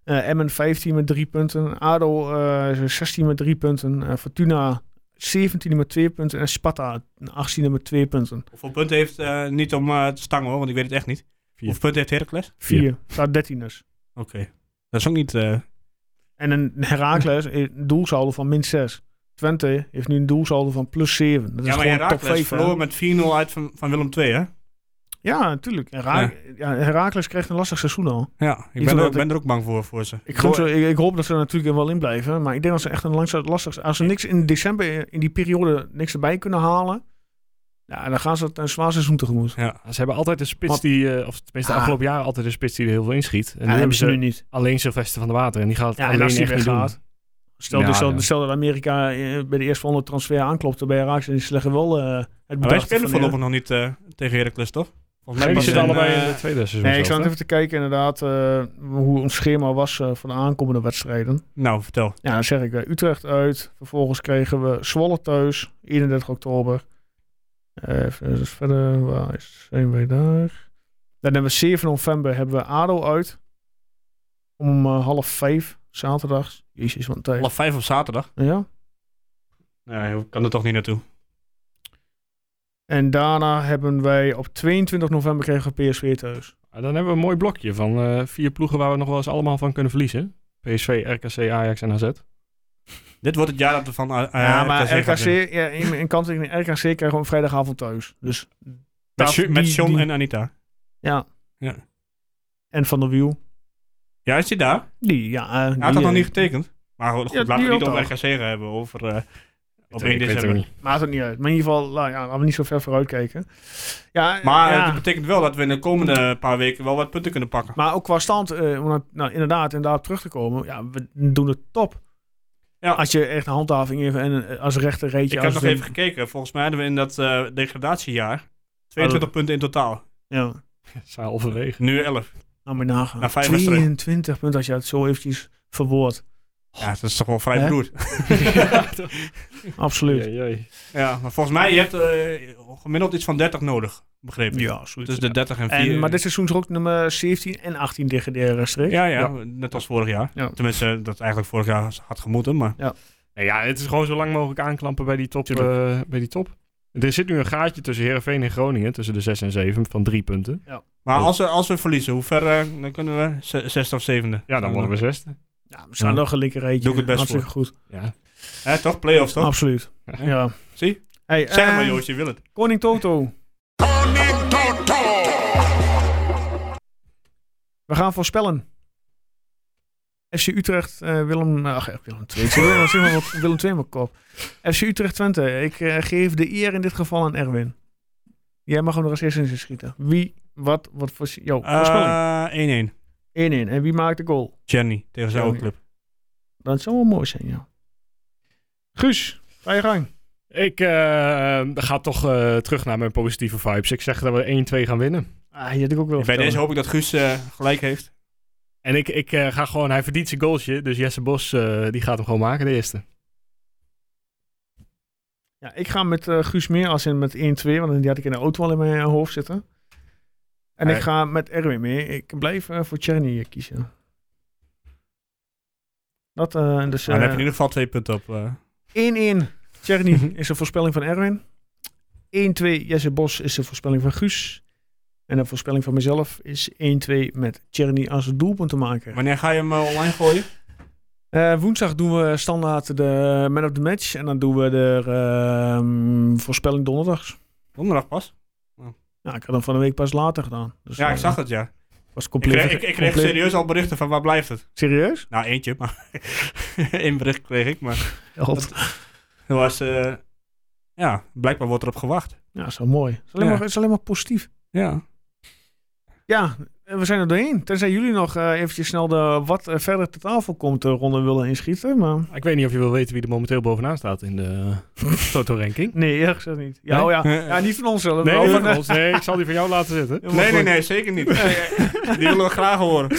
[SPEAKER 1] Eh Emmen 15 met 3 punten. ADO eh 16 met 3 punten. eh, Fortuna 17 met 2 punten. En Sparta 18 met 2 punten.
[SPEAKER 2] Hoeveel punten heeft, eh, niet om eh, te stangen hoor, want ik weet het echt niet. Hoeveel punten heeft Heracles?
[SPEAKER 1] 4.
[SPEAKER 3] Vier.
[SPEAKER 1] Staat 13 dus.
[SPEAKER 2] Oké. Dat is ook niet... eh,
[SPEAKER 1] En een Herakles een doelsaldo van min 6. Twente heeft nu een doelsaldo van plus 7. Dat is
[SPEAKER 2] ja, maar
[SPEAKER 1] gewoon top
[SPEAKER 2] Heracles
[SPEAKER 1] 5.
[SPEAKER 2] verloor met 4-0 uit van, van Willem II, hè?
[SPEAKER 1] Ja, natuurlijk. Hera ja, Herakles kreeg een lastig seizoen al.
[SPEAKER 2] Ja, ik
[SPEAKER 1] Niet
[SPEAKER 2] ben, er,
[SPEAKER 1] omdat
[SPEAKER 2] ik ben er ook bang voor, voor ze.
[SPEAKER 1] Ik, gun ze, ik, ik hoop dat ze er natuurlijk er wel in blijven. Maar ik denk dat ze echt een langzaam lastig Als ze niks in december, in die periode, niks erbij kunnen halen. Ja, dan gaan ze het een zwaar seizoen tegemoet.
[SPEAKER 3] Ze hebben altijd een spits
[SPEAKER 1] Want-
[SPEAKER 3] die, eh, of tenminste de
[SPEAKER 1] Ah.
[SPEAKER 3] afgelopen jaren altijd een spits die er heel veel inschiet. En
[SPEAKER 1] En
[SPEAKER 3] nu
[SPEAKER 1] dat
[SPEAKER 3] hebben ze
[SPEAKER 1] niet.
[SPEAKER 3] alleen Sylvester van der Water en die gaat het
[SPEAKER 1] Ja, en
[SPEAKER 3] alleen
[SPEAKER 1] als die
[SPEAKER 3] echt niet doen.
[SPEAKER 1] weggaat. Stel,
[SPEAKER 3] Ja,
[SPEAKER 1] dus, stel,
[SPEAKER 3] ja.
[SPEAKER 1] stel dat Amerika eh, bij de eerste volgende transfer aanklopte bij Raaks. En die slecht wel eh, het
[SPEAKER 2] Maar wij
[SPEAKER 1] bedacht
[SPEAKER 2] spelen
[SPEAKER 1] van, ja.
[SPEAKER 2] voorlopig nog niet eh, tegen Heracles, toch? Volgens
[SPEAKER 3] Maar die
[SPEAKER 1] Nee,
[SPEAKER 2] pas
[SPEAKER 3] zitten
[SPEAKER 2] in,
[SPEAKER 3] allebei
[SPEAKER 2] eh,
[SPEAKER 3] in het tweede seizoen.
[SPEAKER 1] Nee, ik
[SPEAKER 3] zelf,
[SPEAKER 1] zou
[SPEAKER 3] hè?
[SPEAKER 1] even te kijken inderdaad eh, hoe ons schema was eh, van de aankomende wedstrijden.
[SPEAKER 2] Nou, vertel.
[SPEAKER 1] Ja, dan zeg ik eh, Utrecht uit. Vervolgens kregen we Zwolle thuis, 31 oktober. Eh, Even dus verder, waar is, zijn wij daar? Dan hebben we 7 november hebben we ADO uit. Om eh, half vijf, zaterdags. Jezus, wat een tijd.
[SPEAKER 2] Half vijf op zaterdag.
[SPEAKER 1] Ja.
[SPEAKER 2] Nee, ik kan er toch niet naartoe.
[SPEAKER 1] En daarna hebben wij op 22 november kregen we PSV thuis.
[SPEAKER 3] Ah, Dan hebben we een mooi blokje van eh, vier ploegen waar we nog wel eens allemaal van kunnen verliezen. PSV, RKC, Ajax en AZ.
[SPEAKER 2] Dit wordt het jaar dat we van eh,
[SPEAKER 1] ja, maar
[SPEAKER 2] RKC gaan
[SPEAKER 1] RKC,
[SPEAKER 2] winnen.
[SPEAKER 1] ja, in, in kanttekening, RKC krijgen we op vrijdagavond thuis. Dus
[SPEAKER 2] Met,
[SPEAKER 1] dat-
[SPEAKER 2] Jo- met
[SPEAKER 1] die-
[SPEAKER 2] John
[SPEAKER 1] die-
[SPEAKER 2] en Anita.
[SPEAKER 1] Ja.
[SPEAKER 2] Ja.
[SPEAKER 1] En Van der Wiel.
[SPEAKER 2] Ja, is hij daar?
[SPEAKER 1] Die, ja. eh, die,
[SPEAKER 2] Hij had dat nog
[SPEAKER 1] eh,
[SPEAKER 2] niet getekend. Maar goed,
[SPEAKER 1] Ja,
[SPEAKER 2] goed, laten we
[SPEAKER 1] die
[SPEAKER 2] niet
[SPEAKER 1] ook
[SPEAKER 2] over
[SPEAKER 1] al.
[SPEAKER 2] RKC gaan hebben. Over, eh, op
[SPEAKER 3] Ik
[SPEAKER 2] 1
[SPEAKER 3] weet het ook
[SPEAKER 2] december.
[SPEAKER 3] niet.
[SPEAKER 1] Maakt het niet uit. Maar in ieder geval, nou ja, laten we niet zo ver vooruit kijken. Ja,
[SPEAKER 2] Maar eh,
[SPEAKER 1] ja.
[SPEAKER 2] dat betekent wel dat we in de komende paar weken wel wat punten kunnen pakken.
[SPEAKER 1] maar ook qua stand, eh, om nou, nou, inderdaad, en daarop terug te komen, ja, we doen het top.
[SPEAKER 2] Ja.
[SPEAKER 1] Als je echt handhaving even en eh, als rechter reed je
[SPEAKER 2] Ik heb
[SPEAKER 1] als
[SPEAKER 2] nog
[SPEAKER 1] de-
[SPEAKER 2] even gekeken. Volgens mij hadden we in dat eh, degradatiejaar 22
[SPEAKER 1] Oh.
[SPEAKER 2] punten in totaal.
[SPEAKER 1] Ja,
[SPEAKER 3] Zijn halverwege.
[SPEAKER 2] Nu 11.
[SPEAKER 1] nou maar nagaan.
[SPEAKER 2] Na vijf wedstrijden.
[SPEAKER 1] 22 punten als je het zo eventjes verwoordt.
[SPEAKER 2] Ja, dat is toch wel vrij
[SPEAKER 1] Hè?
[SPEAKER 2] beroerd.
[SPEAKER 1] Absoluut.
[SPEAKER 3] Jee, jee.
[SPEAKER 2] Ja, maar volgens mij, je hebt eh, gemiddeld iets van 30 nodig, begreep ik.
[SPEAKER 1] Ja, zoiets.
[SPEAKER 2] Tussen Dus de 30 en 4.
[SPEAKER 1] En, maar dit seizoen is ook nummer 17 en 18 degraderen streek.
[SPEAKER 2] ja, ja, net als vorig jaar.
[SPEAKER 1] Ja.
[SPEAKER 2] Tenminste, dat eigenlijk vorig jaar had gemoeten, maar...
[SPEAKER 3] Nou ja, het is gewoon zo lang mogelijk aanklampen bij die top. eh, bij die top. Er zit nu een gaatje tussen Heerenveen en Groningen, tussen de 6 en 7, van drie punten.
[SPEAKER 2] Maar
[SPEAKER 3] Ja.
[SPEAKER 2] als we, als we verliezen, hoe ver eh, dan kunnen we? Z- Zesde of zevende?
[SPEAKER 3] Ja, dan worden we zesde.
[SPEAKER 1] Ja, we staan
[SPEAKER 2] Ja.
[SPEAKER 1] nog een linker reetje.
[SPEAKER 2] Doe ik het best
[SPEAKER 1] Hartstikke goed.
[SPEAKER 3] Ja.
[SPEAKER 2] Eh, Hè, toch? Playoffs, toch?
[SPEAKER 1] Absoluut.
[SPEAKER 3] Ja.
[SPEAKER 1] Ja.
[SPEAKER 2] Zie?
[SPEAKER 1] Hey,
[SPEAKER 2] Zeg het
[SPEAKER 1] Ah, eh,
[SPEAKER 2] maar, Joost, je wil het.
[SPEAKER 1] Koning Toto. We gaan voorspellen. FC Utrecht, eh, Willem... Ach, eh, Willem II. Ik zie Willem, zie maar wat- Willem II in mijn kop. FC Utrecht Twente. Ik eh, geef de eer in dit geval aan Erwin. Jij mag hem nog eens eerst in schieten. Wie, wat, wat voor... Yo, voorspelling.
[SPEAKER 2] Eh, 1-1.
[SPEAKER 1] 1-1. En wie maakt de goal?
[SPEAKER 2] Jenny tegen zijn oude club.
[SPEAKER 1] Dat zou wel mooi zijn, ja. Guus, ga je gang.
[SPEAKER 3] Ik eh, ga toch eh, terug naar mijn positieve vibes. Ik zeg dat we 1-2 gaan winnen.
[SPEAKER 1] Ah, die had ik ook wel
[SPEAKER 2] Bij
[SPEAKER 1] vertellen.
[SPEAKER 2] deze hoop ik dat Guus eh, gelijk heeft.
[SPEAKER 3] En ik, ik eh, ga gewoon, hij verdient zijn goalsje. Dus Jesse Bos, eh, die gaat hem gewoon maken, de eerste.
[SPEAKER 1] Ja, ik ga met eh, Guus meer als in met 1-2, want die had ik in de auto al in mijn eh, hoofd zitten. En
[SPEAKER 3] Hey.
[SPEAKER 1] ik ga met Erwin mee. Ik blijf eh, voor Tjerny eh, kiezen. Dat, eh dus
[SPEAKER 2] Maar Nou, dan
[SPEAKER 1] eh, 1-1.
[SPEAKER 2] heb je Mhm. in ieder geval twee punten op. eh.
[SPEAKER 1] Tjerny is een voorspelling van Erwin. 1-2 Jesse Bos is de voorspelling van Guus. En de voorspelling van mezelf is 1-2 met Tjerny als doelpunt te maken.
[SPEAKER 2] Wanneer ga je hem eh, online gooien?
[SPEAKER 1] Eh, woensdag doen we standaard de eh, man of the match. En dan doen we de ehm, voorspelling donderdags.
[SPEAKER 2] Donderdag pas.
[SPEAKER 1] Ja, Nou, ik had hem van de week pas later gedaan. Dus,
[SPEAKER 2] Ja, ik
[SPEAKER 1] eh,
[SPEAKER 2] zag het, ja.
[SPEAKER 1] Was
[SPEAKER 2] Ik
[SPEAKER 1] compleet.
[SPEAKER 2] kreeg, ik, ik kreeg
[SPEAKER 1] compleet-
[SPEAKER 2] serieus al berichten van waar blijft het?
[SPEAKER 1] Serieus?
[SPEAKER 2] Nou, eentje, maar... Eén bericht kreeg ik, maar...
[SPEAKER 1] Dat,
[SPEAKER 2] Dat was... eh, ja, blijkbaar wordt erop gewacht.
[SPEAKER 1] ja, zo mooi. Het is, alleen
[SPEAKER 2] Ja.
[SPEAKER 1] maar, het is alleen maar positief.
[SPEAKER 2] Ja.
[SPEAKER 1] Ja, eh, we zijn er doorheen. Tenzij jullie nog eh, eventjes snel de wat eh, verder te tafel komt eh, ronde willen inschieten. Maar
[SPEAKER 3] Ik weet niet of je wil weten wie er momenteel bovenaan staat in de eh, Toto-ranking.
[SPEAKER 1] nee, eerlijk gezegd niet. Ja,
[SPEAKER 3] Nee?
[SPEAKER 1] oh ja. ja, niet van ons zelf.
[SPEAKER 3] Nee,
[SPEAKER 1] maar
[SPEAKER 3] van
[SPEAKER 1] van, eh,
[SPEAKER 3] ons. nee, ik zal die van jou laten zitten.
[SPEAKER 2] Nee, nee, nee, zeker niet. Die willen we graag horen.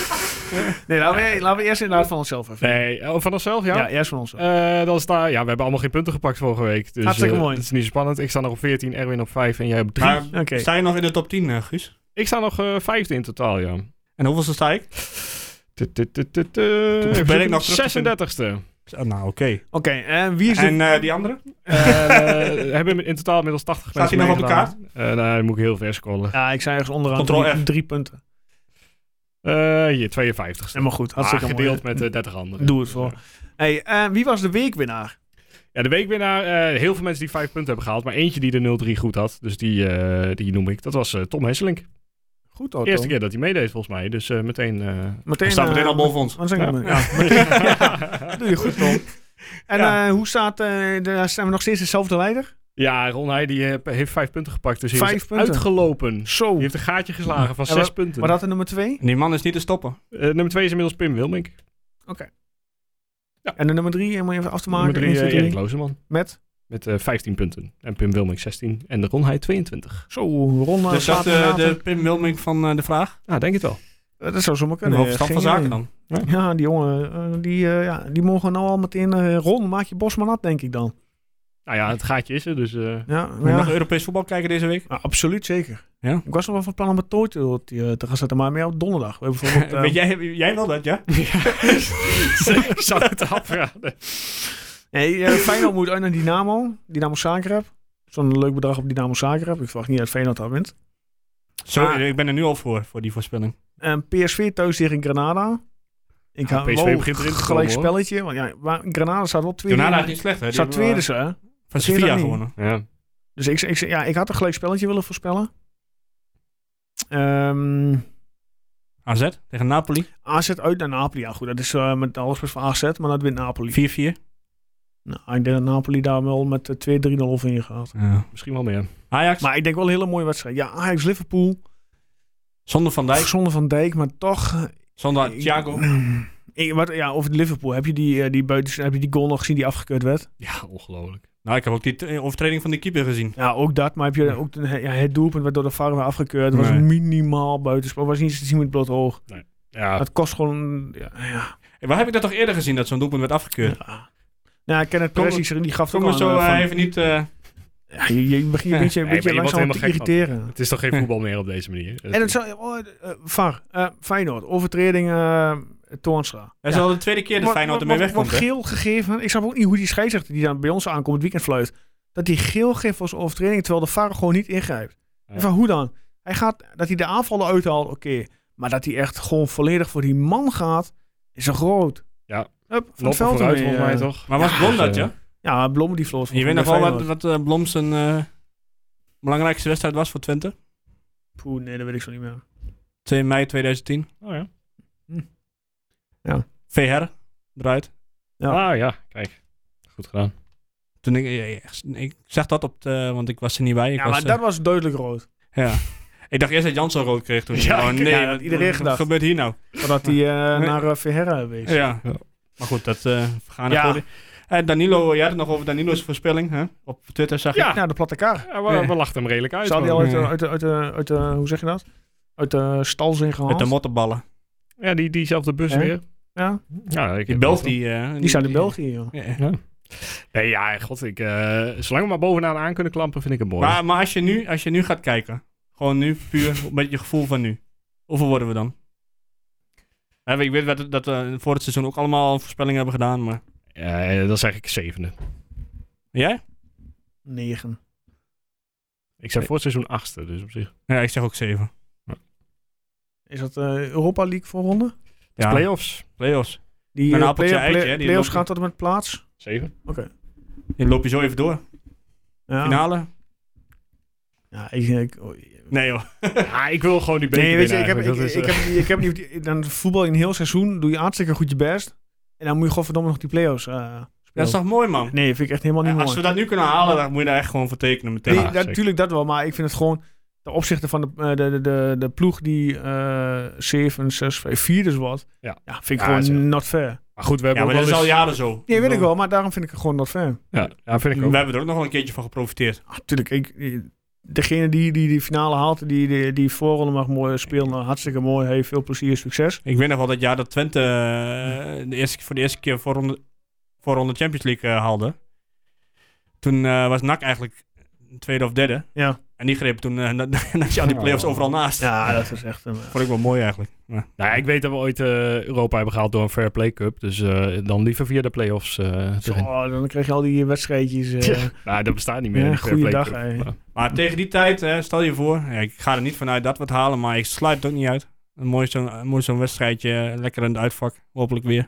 [SPEAKER 1] nee laten, we, laten we eerst inderdaad van onszelf even.
[SPEAKER 3] Nee, oh, van onszelf, ja?
[SPEAKER 1] Ja, eerst van onszelf.
[SPEAKER 3] Eh, dan sta, ja, we hebben allemaal geen punten gepakt vorige week. Dus,
[SPEAKER 1] Hartstikke
[SPEAKER 3] eh,
[SPEAKER 1] mooi.
[SPEAKER 3] Dat is niet zo spannend. Ik sta nog op 14, Erwin op 5 en jij op 3.
[SPEAKER 2] Maar
[SPEAKER 1] Oké.
[SPEAKER 2] sta je nog in de top 10, eh, Guus?
[SPEAKER 3] Ik sta nog eh, vijfde in totaal, ja.
[SPEAKER 2] En hoeveelste sta ik?
[SPEAKER 3] Tu, tu, tu, tu, tu. Even
[SPEAKER 2] ben ik nog terug te vinden.
[SPEAKER 3] 36e.
[SPEAKER 2] Ah, nou, oké.
[SPEAKER 1] Oké, en wie is
[SPEAKER 2] En
[SPEAKER 1] dit?
[SPEAKER 2] eh, die andere?
[SPEAKER 3] Eh, hebben in totaal inmiddels 80
[SPEAKER 2] Staat
[SPEAKER 3] mensen
[SPEAKER 2] hij nog op de
[SPEAKER 3] meegedaan. Eh, nou, dan moet ik heel ver scrollen.
[SPEAKER 1] Ja, ik zei ergens onderaan
[SPEAKER 2] Ctrl
[SPEAKER 1] drie,
[SPEAKER 2] F.
[SPEAKER 1] drie punten.
[SPEAKER 3] Eh, hier, 52e.
[SPEAKER 1] Helemaal goed.
[SPEAKER 3] Ah,
[SPEAKER 1] Hartstikke mooi.
[SPEAKER 3] gedeeld met eh, 30 anderen.
[SPEAKER 1] Doe het voor. Hey, eh, wie was de weekwinnaar?
[SPEAKER 3] Ja, de weekwinnaar. eh, heel veel mensen die 5 punten hebben gehaald. Maar eentje die de 0-3 goed had. Dus die, eh, die noem ik. Dat was eh, Tom Hesselink.
[SPEAKER 1] Goed, hoor.
[SPEAKER 3] Eerste keer dat hij meedeed, volgens mij. Dus eh, meteen. eh,
[SPEAKER 1] Meteen,
[SPEAKER 2] staat meteen
[SPEAKER 1] eh,
[SPEAKER 2] al boven ons.
[SPEAKER 1] wat zeg ik nou? Ja. Doe je goed, Tom. En
[SPEAKER 2] Ja.
[SPEAKER 1] eh, hoe staat, eh daar zijn we nog steeds dezelfde leider?
[SPEAKER 3] Ja, Ron Heij die eh, heeft vijf punten gepakt. Dus hij
[SPEAKER 1] Vijf
[SPEAKER 3] is
[SPEAKER 1] punten?
[SPEAKER 3] uitgelopen.
[SPEAKER 1] Zo.
[SPEAKER 3] Die heeft een gaatje geslagen van
[SPEAKER 1] Ja,
[SPEAKER 3] zes punten.
[SPEAKER 1] Maar dat de nummer twee?
[SPEAKER 2] Die man is niet te stoppen.
[SPEAKER 3] Eh, nummer twee is inmiddels Pim Wilmink.
[SPEAKER 1] En de nummer drie, om even af te maken.
[SPEAKER 3] nummer drie,
[SPEAKER 1] Eén, twee, drie.
[SPEAKER 3] eh, Erik Lozeman.
[SPEAKER 1] Met?
[SPEAKER 3] Met eh 15 punten. En Pim Wilmink 16. En de Ron Heij 22.
[SPEAKER 1] Zo, Ron
[SPEAKER 2] dus dat eh, de Pim Wilming van eh, de vraag.
[SPEAKER 3] Nou, denk het wel.
[SPEAKER 1] Eh, dat zou zomaar
[SPEAKER 2] En de
[SPEAKER 1] kunnen.
[SPEAKER 2] hoofdstand van
[SPEAKER 1] Geen
[SPEAKER 2] zaken
[SPEAKER 1] idee.
[SPEAKER 2] dan.
[SPEAKER 1] Ja, die jongen, eh, die, eh, ja, die mogen nou al meteen... eh Ron, maak je Bosman nat, denk ik dan.
[SPEAKER 3] Nou ja, het gaatje is er. Dus eh,
[SPEAKER 1] Ja,
[SPEAKER 2] Moet je
[SPEAKER 1] ja.
[SPEAKER 2] nog Europees voetbal kijken deze week?
[SPEAKER 1] Ja, absoluut zeker.
[SPEAKER 2] Ja?
[SPEAKER 1] Ik was nog wel van plan om het toortje op die, eh, te gaan zetten, maar meer op donderdag. We hebben bijvoorbeeld, eh,
[SPEAKER 2] Weet jij, jij wel dat, ja?
[SPEAKER 3] ik zou het afraden.
[SPEAKER 1] Nee, eh, Feyenoord moet uit naar Dynamo. Dynamo Zagreb. Zo'n leuk bedrag op Dynamo Zagreb. Ik verwacht niet dat Feyenoord dat wint.
[SPEAKER 2] Sorry,
[SPEAKER 1] Ah.
[SPEAKER 2] ik ben er nu al voor, voor die voorspelling.
[SPEAKER 1] En PSV thuis tegen Granada. Ik
[SPEAKER 3] Ja,
[SPEAKER 1] hou
[SPEAKER 3] PSV
[SPEAKER 1] wel
[SPEAKER 3] begint erin te
[SPEAKER 1] gelijk
[SPEAKER 3] komen, hoor.
[SPEAKER 1] spelletje. Want ja, maar Granada staat wel tweede.
[SPEAKER 2] Jonada is niet slecht, hè? Die
[SPEAKER 1] staat
[SPEAKER 2] hebben,
[SPEAKER 1] tweede, ze,
[SPEAKER 2] eh,
[SPEAKER 1] hè?
[SPEAKER 2] Van
[SPEAKER 1] Vind je
[SPEAKER 2] Sevilla
[SPEAKER 1] dat niet?
[SPEAKER 2] gewonnen.
[SPEAKER 3] Ja.
[SPEAKER 1] Dus ik, ik, ja, ik had een gelijk spelletje willen voorspellen. Ehm,
[SPEAKER 2] AZ tegen Napoli. 4-4.
[SPEAKER 1] AZ uit naar Napoli. Ja, goed, dat is eh, met alles best van AZ, maar dat wint Napoli. Nou, ik denk dat Napoli daar wel met eh, 2-3-0 of in gaat.
[SPEAKER 2] Ja.
[SPEAKER 3] Misschien wel meer.
[SPEAKER 2] Ajax.
[SPEAKER 1] Maar ik denk wel een hele mooie wedstrijd. Ja, Ajax-Liverpool.
[SPEAKER 2] Zonder Van Dijk.
[SPEAKER 1] Zonder Van Dijk, maar toch...
[SPEAKER 2] Zonder Thiago.
[SPEAKER 1] Mm. Ik- wat, ja, over Liverpool, heb je die, eh, die, buitens, heb je die goal nog gezien die afgekeurd werd?
[SPEAKER 3] Ja, ongelooflijk.
[SPEAKER 2] Nou, ik heb ook die t- overtreding van die keeper gezien.
[SPEAKER 1] Ja, ook dat. Maar heb je ook de, ja, het doelpunt werd door de VAR weer afgekeurd. Het
[SPEAKER 2] Nee.
[SPEAKER 1] was minimaal buitenspel. was niet eens te zien met het blote oog.
[SPEAKER 3] Ja,
[SPEAKER 1] Dat kost gewoon... Ja, ja.
[SPEAKER 2] En waar heb ik dat toch eerder gezien, dat zo'n doelpunt werd afgekeurd?
[SPEAKER 1] Nou, ik ken het
[SPEAKER 2] Kom-
[SPEAKER 1] precies. Die gaf het
[SPEAKER 2] Kom
[SPEAKER 1] ook
[SPEAKER 2] maar
[SPEAKER 1] al
[SPEAKER 2] zo
[SPEAKER 1] aan, eh,
[SPEAKER 2] eh,
[SPEAKER 1] van-
[SPEAKER 2] even niet... eh,
[SPEAKER 1] Ja, je, je begint een
[SPEAKER 2] Ja.
[SPEAKER 1] beetje, een
[SPEAKER 3] Nee,
[SPEAKER 1] beetje
[SPEAKER 3] maar je wordt
[SPEAKER 1] langzaam
[SPEAKER 3] er
[SPEAKER 1] te
[SPEAKER 3] helemaal gek
[SPEAKER 1] irriteren.
[SPEAKER 3] het is toch geen voetbal meer op deze manier.
[SPEAKER 1] En het zou... Oh, eh, VAR, eh, Feyenoord, overtreding eh Toornstra.
[SPEAKER 2] Dat is al de tweede keer dat Feyenoord ermee
[SPEAKER 1] Wordt-
[SPEAKER 2] wegkomt,
[SPEAKER 1] wordt
[SPEAKER 2] hè?
[SPEAKER 1] geel gegeven. Ik snap ook niet hoe die scheidsrechter die dan bij ons aankomt het weekend fluit. Dat die geel geeft als overtreding, terwijl de VAR gewoon niet ingrijpt. En van hoe dan? Hij gaat, dat hij de aanvallen uithaalt, oké. Maar dat hij echt gewoon volledig voor die man gaat, is een groot.
[SPEAKER 3] Ja.
[SPEAKER 1] Hup, van
[SPEAKER 3] Lopen
[SPEAKER 1] het veld
[SPEAKER 3] vooruit
[SPEAKER 1] ermee,
[SPEAKER 3] volgens mij
[SPEAKER 1] eh.
[SPEAKER 3] toch?
[SPEAKER 2] Maar was Blom dat,
[SPEAKER 3] dus, eh,
[SPEAKER 2] ja?
[SPEAKER 1] Ja, Blom die vloot.
[SPEAKER 2] Je weet nog wel wat, wat eh, Blom zijn eh, belangrijkste wedstrijd was voor Twente?
[SPEAKER 1] Poeh, nee, dat weet ik zo niet meer.
[SPEAKER 2] 2 mei 2010.
[SPEAKER 3] Oh ja.
[SPEAKER 2] VR, eruit.
[SPEAKER 1] Ja.
[SPEAKER 3] Ah ja, kijk. Goed gedaan.
[SPEAKER 2] Toen ik, ik, ik- ik zag dat op de, want ik was er niet bij. Ik
[SPEAKER 1] Ja,
[SPEAKER 2] was,
[SPEAKER 1] maar
[SPEAKER 2] eh,
[SPEAKER 1] dat was duidelijk rood.
[SPEAKER 2] ja. ik dacht eerst dat Jansen rood kreeg toen.
[SPEAKER 3] Ja,
[SPEAKER 2] oh
[SPEAKER 3] ik-
[SPEAKER 2] nee,
[SPEAKER 1] ja, dat
[SPEAKER 2] wat,
[SPEAKER 1] iedereen
[SPEAKER 2] wat,
[SPEAKER 1] gedacht.
[SPEAKER 2] gebeurt hier nou?
[SPEAKER 1] Voordat hij eh,
[SPEAKER 2] Nee.
[SPEAKER 1] naar eh, Verhera wees.
[SPEAKER 2] Ja.
[SPEAKER 3] Ja.
[SPEAKER 2] Maar goed, dat eh we gaan
[SPEAKER 1] Ja.
[SPEAKER 2] ervoor. Eh, Danilo, jij had het nog over Danilo's voorspelling. Hè? Op Twitter zag ik.
[SPEAKER 1] Ja, de platte kaart.
[SPEAKER 3] Ja, we, we lachten hem redelijk uit.
[SPEAKER 1] Zou Eh. die al
[SPEAKER 3] man.
[SPEAKER 1] uit de,
[SPEAKER 2] Ja.
[SPEAKER 1] uit, de, uit, de, uit de- hoe zeg je dat? Uit de stal zijn
[SPEAKER 2] Met
[SPEAKER 1] gehaald?
[SPEAKER 2] de mottenballen.
[SPEAKER 3] Ja, die, diezelfde bus
[SPEAKER 1] Hè?
[SPEAKER 3] weer.
[SPEAKER 1] ja,
[SPEAKER 3] Ja, ik
[SPEAKER 2] Die
[SPEAKER 3] heb
[SPEAKER 2] Belg
[SPEAKER 3] wel-
[SPEAKER 2] die... eh,
[SPEAKER 1] die zijn in België, joh.
[SPEAKER 2] Ja.
[SPEAKER 3] Nee, ja, god, ik, eh, zolang we maar bovenaan aan kunnen klampen, vind ik het mooi.
[SPEAKER 2] Maar, maar als, je nu, als je nu gaat kijken, gewoon nu puur met je gevoel van nu, hoeveel worden we dan? Hè, ik weet dat, dat we voor het seizoen ook allemaal voorspellingen hebben gedaan, maar...
[SPEAKER 3] Eh, dan zeg ik zevende.
[SPEAKER 2] Jij?
[SPEAKER 1] Negen.
[SPEAKER 3] Ik zeg voor het seizoen achtste, dus op zich.
[SPEAKER 2] Ja, ik zeg ook zeven.
[SPEAKER 1] Is dat eh, Europa League voorronde?
[SPEAKER 2] Ja,
[SPEAKER 3] Playoffs.
[SPEAKER 2] playoffs.
[SPEAKER 1] Die
[SPEAKER 2] Een
[SPEAKER 1] eh,
[SPEAKER 2] appeltje,
[SPEAKER 1] play-
[SPEAKER 2] eitje,
[SPEAKER 1] play-
[SPEAKER 2] hè, die
[SPEAKER 1] play-offs
[SPEAKER 2] lopen.
[SPEAKER 1] gaan tot en met plaats.
[SPEAKER 3] Zeven.
[SPEAKER 2] Die loop je zo even door.
[SPEAKER 1] Ja,
[SPEAKER 2] Finale?
[SPEAKER 1] ja ik, ik, oh,
[SPEAKER 2] Nee joh.
[SPEAKER 3] Ja, Ah, ik wil gewoon die beker
[SPEAKER 1] nee, weet je, ik heb,
[SPEAKER 3] winnen
[SPEAKER 1] ik,
[SPEAKER 3] eigenlijk.
[SPEAKER 1] ik,
[SPEAKER 3] Dat is, eh,
[SPEAKER 1] heb, ik heb niet, dan voetbal in een heel seizoen doe je hartstikke goed je best. En dan moet je gewoon verdomme nog die play-offs eh,
[SPEAKER 2] Dat
[SPEAKER 1] spelen.
[SPEAKER 2] is toch mooi man?
[SPEAKER 1] Nee, vind ik echt helemaal niet
[SPEAKER 2] Ja,
[SPEAKER 1] mooi.
[SPEAKER 2] als we dat nu kunnen halen, dan moet je daar echt gewoon voor tekenen meteen.
[SPEAKER 1] Nee,
[SPEAKER 3] Ja,
[SPEAKER 1] dat-
[SPEAKER 3] zeker.
[SPEAKER 1] natuurlijk dat wel, maar ik vind het gewoon ten opzichte van de, eh, de, de, de, de ploeg die eh 7, 6, 5, 4 dus wat.
[SPEAKER 3] Ja.
[SPEAKER 1] vind ik
[SPEAKER 3] Ja, is echt-
[SPEAKER 1] gewoon not fair.
[SPEAKER 3] Maar goed, we hebben
[SPEAKER 2] Ja, maar
[SPEAKER 3] ook
[SPEAKER 2] dat is
[SPEAKER 3] wel
[SPEAKER 2] al
[SPEAKER 3] eens-
[SPEAKER 2] jaren zo.
[SPEAKER 1] Nee, weet ik
[SPEAKER 2] bedoel,
[SPEAKER 1] wel, maar daarom vind ik het gewoon not fair.
[SPEAKER 3] Ja, ja, vind ik ook.
[SPEAKER 2] We hebben er ook nog wel een keertje van geprofiteerd.
[SPEAKER 1] Natuurlijk, ik, degene die die, die finale haalt, die, die die voorronde mag mooi spelen, nou, hartstikke mooi, heeft veel plezier, succes.
[SPEAKER 2] Ik weet nog wel dat jaar dat Twente eh, de eerste, voor de eerste keer voorronde, voorronde Champions League eh, haalde. Toen eh, was NAC eigenlijk tweede of derde.
[SPEAKER 1] Ja.
[SPEAKER 2] En die greep toen eh, na- na- je al die play-offs overal naast.
[SPEAKER 1] Ja, Dus, dat is echt een...
[SPEAKER 2] Vond ik wel mooi eigenlijk. Ja.
[SPEAKER 3] Nou, ja, ik weet dat we ooit eh, Europa hebben gehaald door een Fair Play Cup. Dus eh, dan liever via de play-offs. eh,
[SPEAKER 1] Zo,
[SPEAKER 3] erin.
[SPEAKER 1] oh, dan krijg je al die wedstrijdjes. eh,
[SPEAKER 3] Nou, dat bestaat niet meer.
[SPEAKER 1] Ja,
[SPEAKER 3] die Fair Play
[SPEAKER 1] goeiedag,
[SPEAKER 3] Cup.
[SPEAKER 1] hè.
[SPEAKER 3] Maar-
[SPEAKER 2] Maar tegen die tijd, eh, stel je voor, ja, ik ga er niet vanuit dat we het halen, maar ik sluit het ook niet uit. Een mooi zo'n een mooi zo'n wedstrijdje, eh, lekker in het uitvak, hopelijk weer.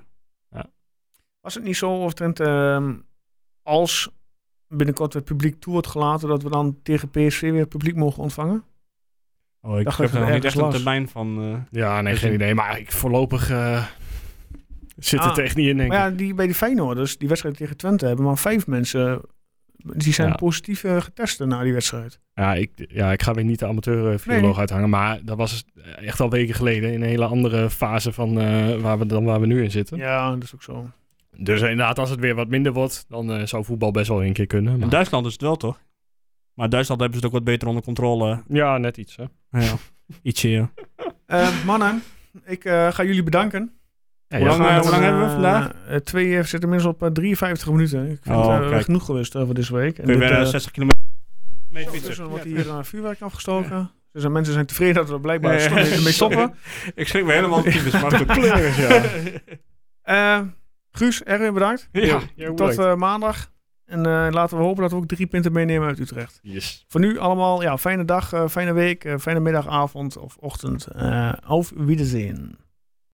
[SPEAKER 1] Was het niet zo, of Trent, ehm, als binnenkort weer publiek toe wordt gelaten, dat we dan tegen PSV weer publiek mogen ontvangen?
[SPEAKER 2] Oh, ik
[SPEAKER 1] Dacht
[SPEAKER 2] heb
[SPEAKER 1] dat
[SPEAKER 2] er nog
[SPEAKER 1] het
[SPEAKER 2] niet
[SPEAKER 1] ergens
[SPEAKER 2] echt een
[SPEAKER 1] las.
[SPEAKER 2] termijn van. eh,
[SPEAKER 3] Ja, nee,
[SPEAKER 2] Dus
[SPEAKER 3] geen
[SPEAKER 2] een-
[SPEAKER 3] idee. Maar ik voorlopig eh, zit het
[SPEAKER 1] Ah,
[SPEAKER 3] echt niet in, denk ik.
[SPEAKER 1] Maar ja, die, bij die Feyenoorders, die wedstrijd tegen Twente, hebben maar vijf mensen... Die zijn
[SPEAKER 3] Ja.
[SPEAKER 1] positief eh, getest na die wedstrijd.
[SPEAKER 3] Ja, ik, ja, ik ga weer niet de amateur-viroloog
[SPEAKER 1] Nee.
[SPEAKER 3] uithangen. Maar dat was dus, eh, echt al weken geleden. In een hele andere fase van, eh, waar we, dan waar we nu in zitten.
[SPEAKER 1] Ja, dat is ook zo.
[SPEAKER 3] Dus inderdaad, als het weer wat minder wordt, dan eh, zou voetbal best wel één keer kunnen.
[SPEAKER 2] In
[SPEAKER 3] Maar...
[SPEAKER 2] Duitsland is het wel toch? Maar in Duitsland hebben ze het ook wat beter onder controle. eh,
[SPEAKER 3] Ja, net iets. Hè?
[SPEAKER 2] Ja. Ietsje, ja.
[SPEAKER 1] Eh, mannen, ik eh, ga jullie bedanken.
[SPEAKER 3] Ja,
[SPEAKER 2] Hoe
[SPEAKER 3] ja.
[SPEAKER 2] lang, eh, hoe lang hebben we
[SPEAKER 1] Eh,
[SPEAKER 2] vandaag?
[SPEAKER 1] eh, twee eh, zitten inmiddels op eh, 53 minuten. Ik vind
[SPEAKER 2] Oh,
[SPEAKER 1] het eh,
[SPEAKER 2] kijk.
[SPEAKER 1] genoeg geweest eh, voor deze week. En
[SPEAKER 2] Kun je
[SPEAKER 1] dit,
[SPEAKER 2] weer
[SPEAKER 1] eh,
[SPEAKER 2] eh, 60 kilometer mee
[SPEAKER 1] zo,
[SPEAKER 2] fietsen?
[SPEAKER 1] tussen wordt hier eh, vuurwerk afgestoken. Dus eh, mensen zijn tevreden dat we er blijkbaar
[SPEAKER 2] Ja, ja.
[SPEAKER 1] mee mee stoppen.
[SPEAKER 2] Ik schrik me helemaal typisch, maar goed.
[SPEAKER 1] Eh, Guus, Erwin, bedankt.
[SPEAKER 2] Ja.
[SPEAKER 3] Ja,
[SPEAKER 1] Tot eh, maandag. En eh, laten we hopen dat we ook drie punten meenemen uit Utrecht.
[SPEAKER 3] Yes.
[SPEAKER 1] Voor nu allemaal, ja, fijne dag, eh, fijne week, eh, fijne middag, avond of ochtend. Eh auf Wiedersehen.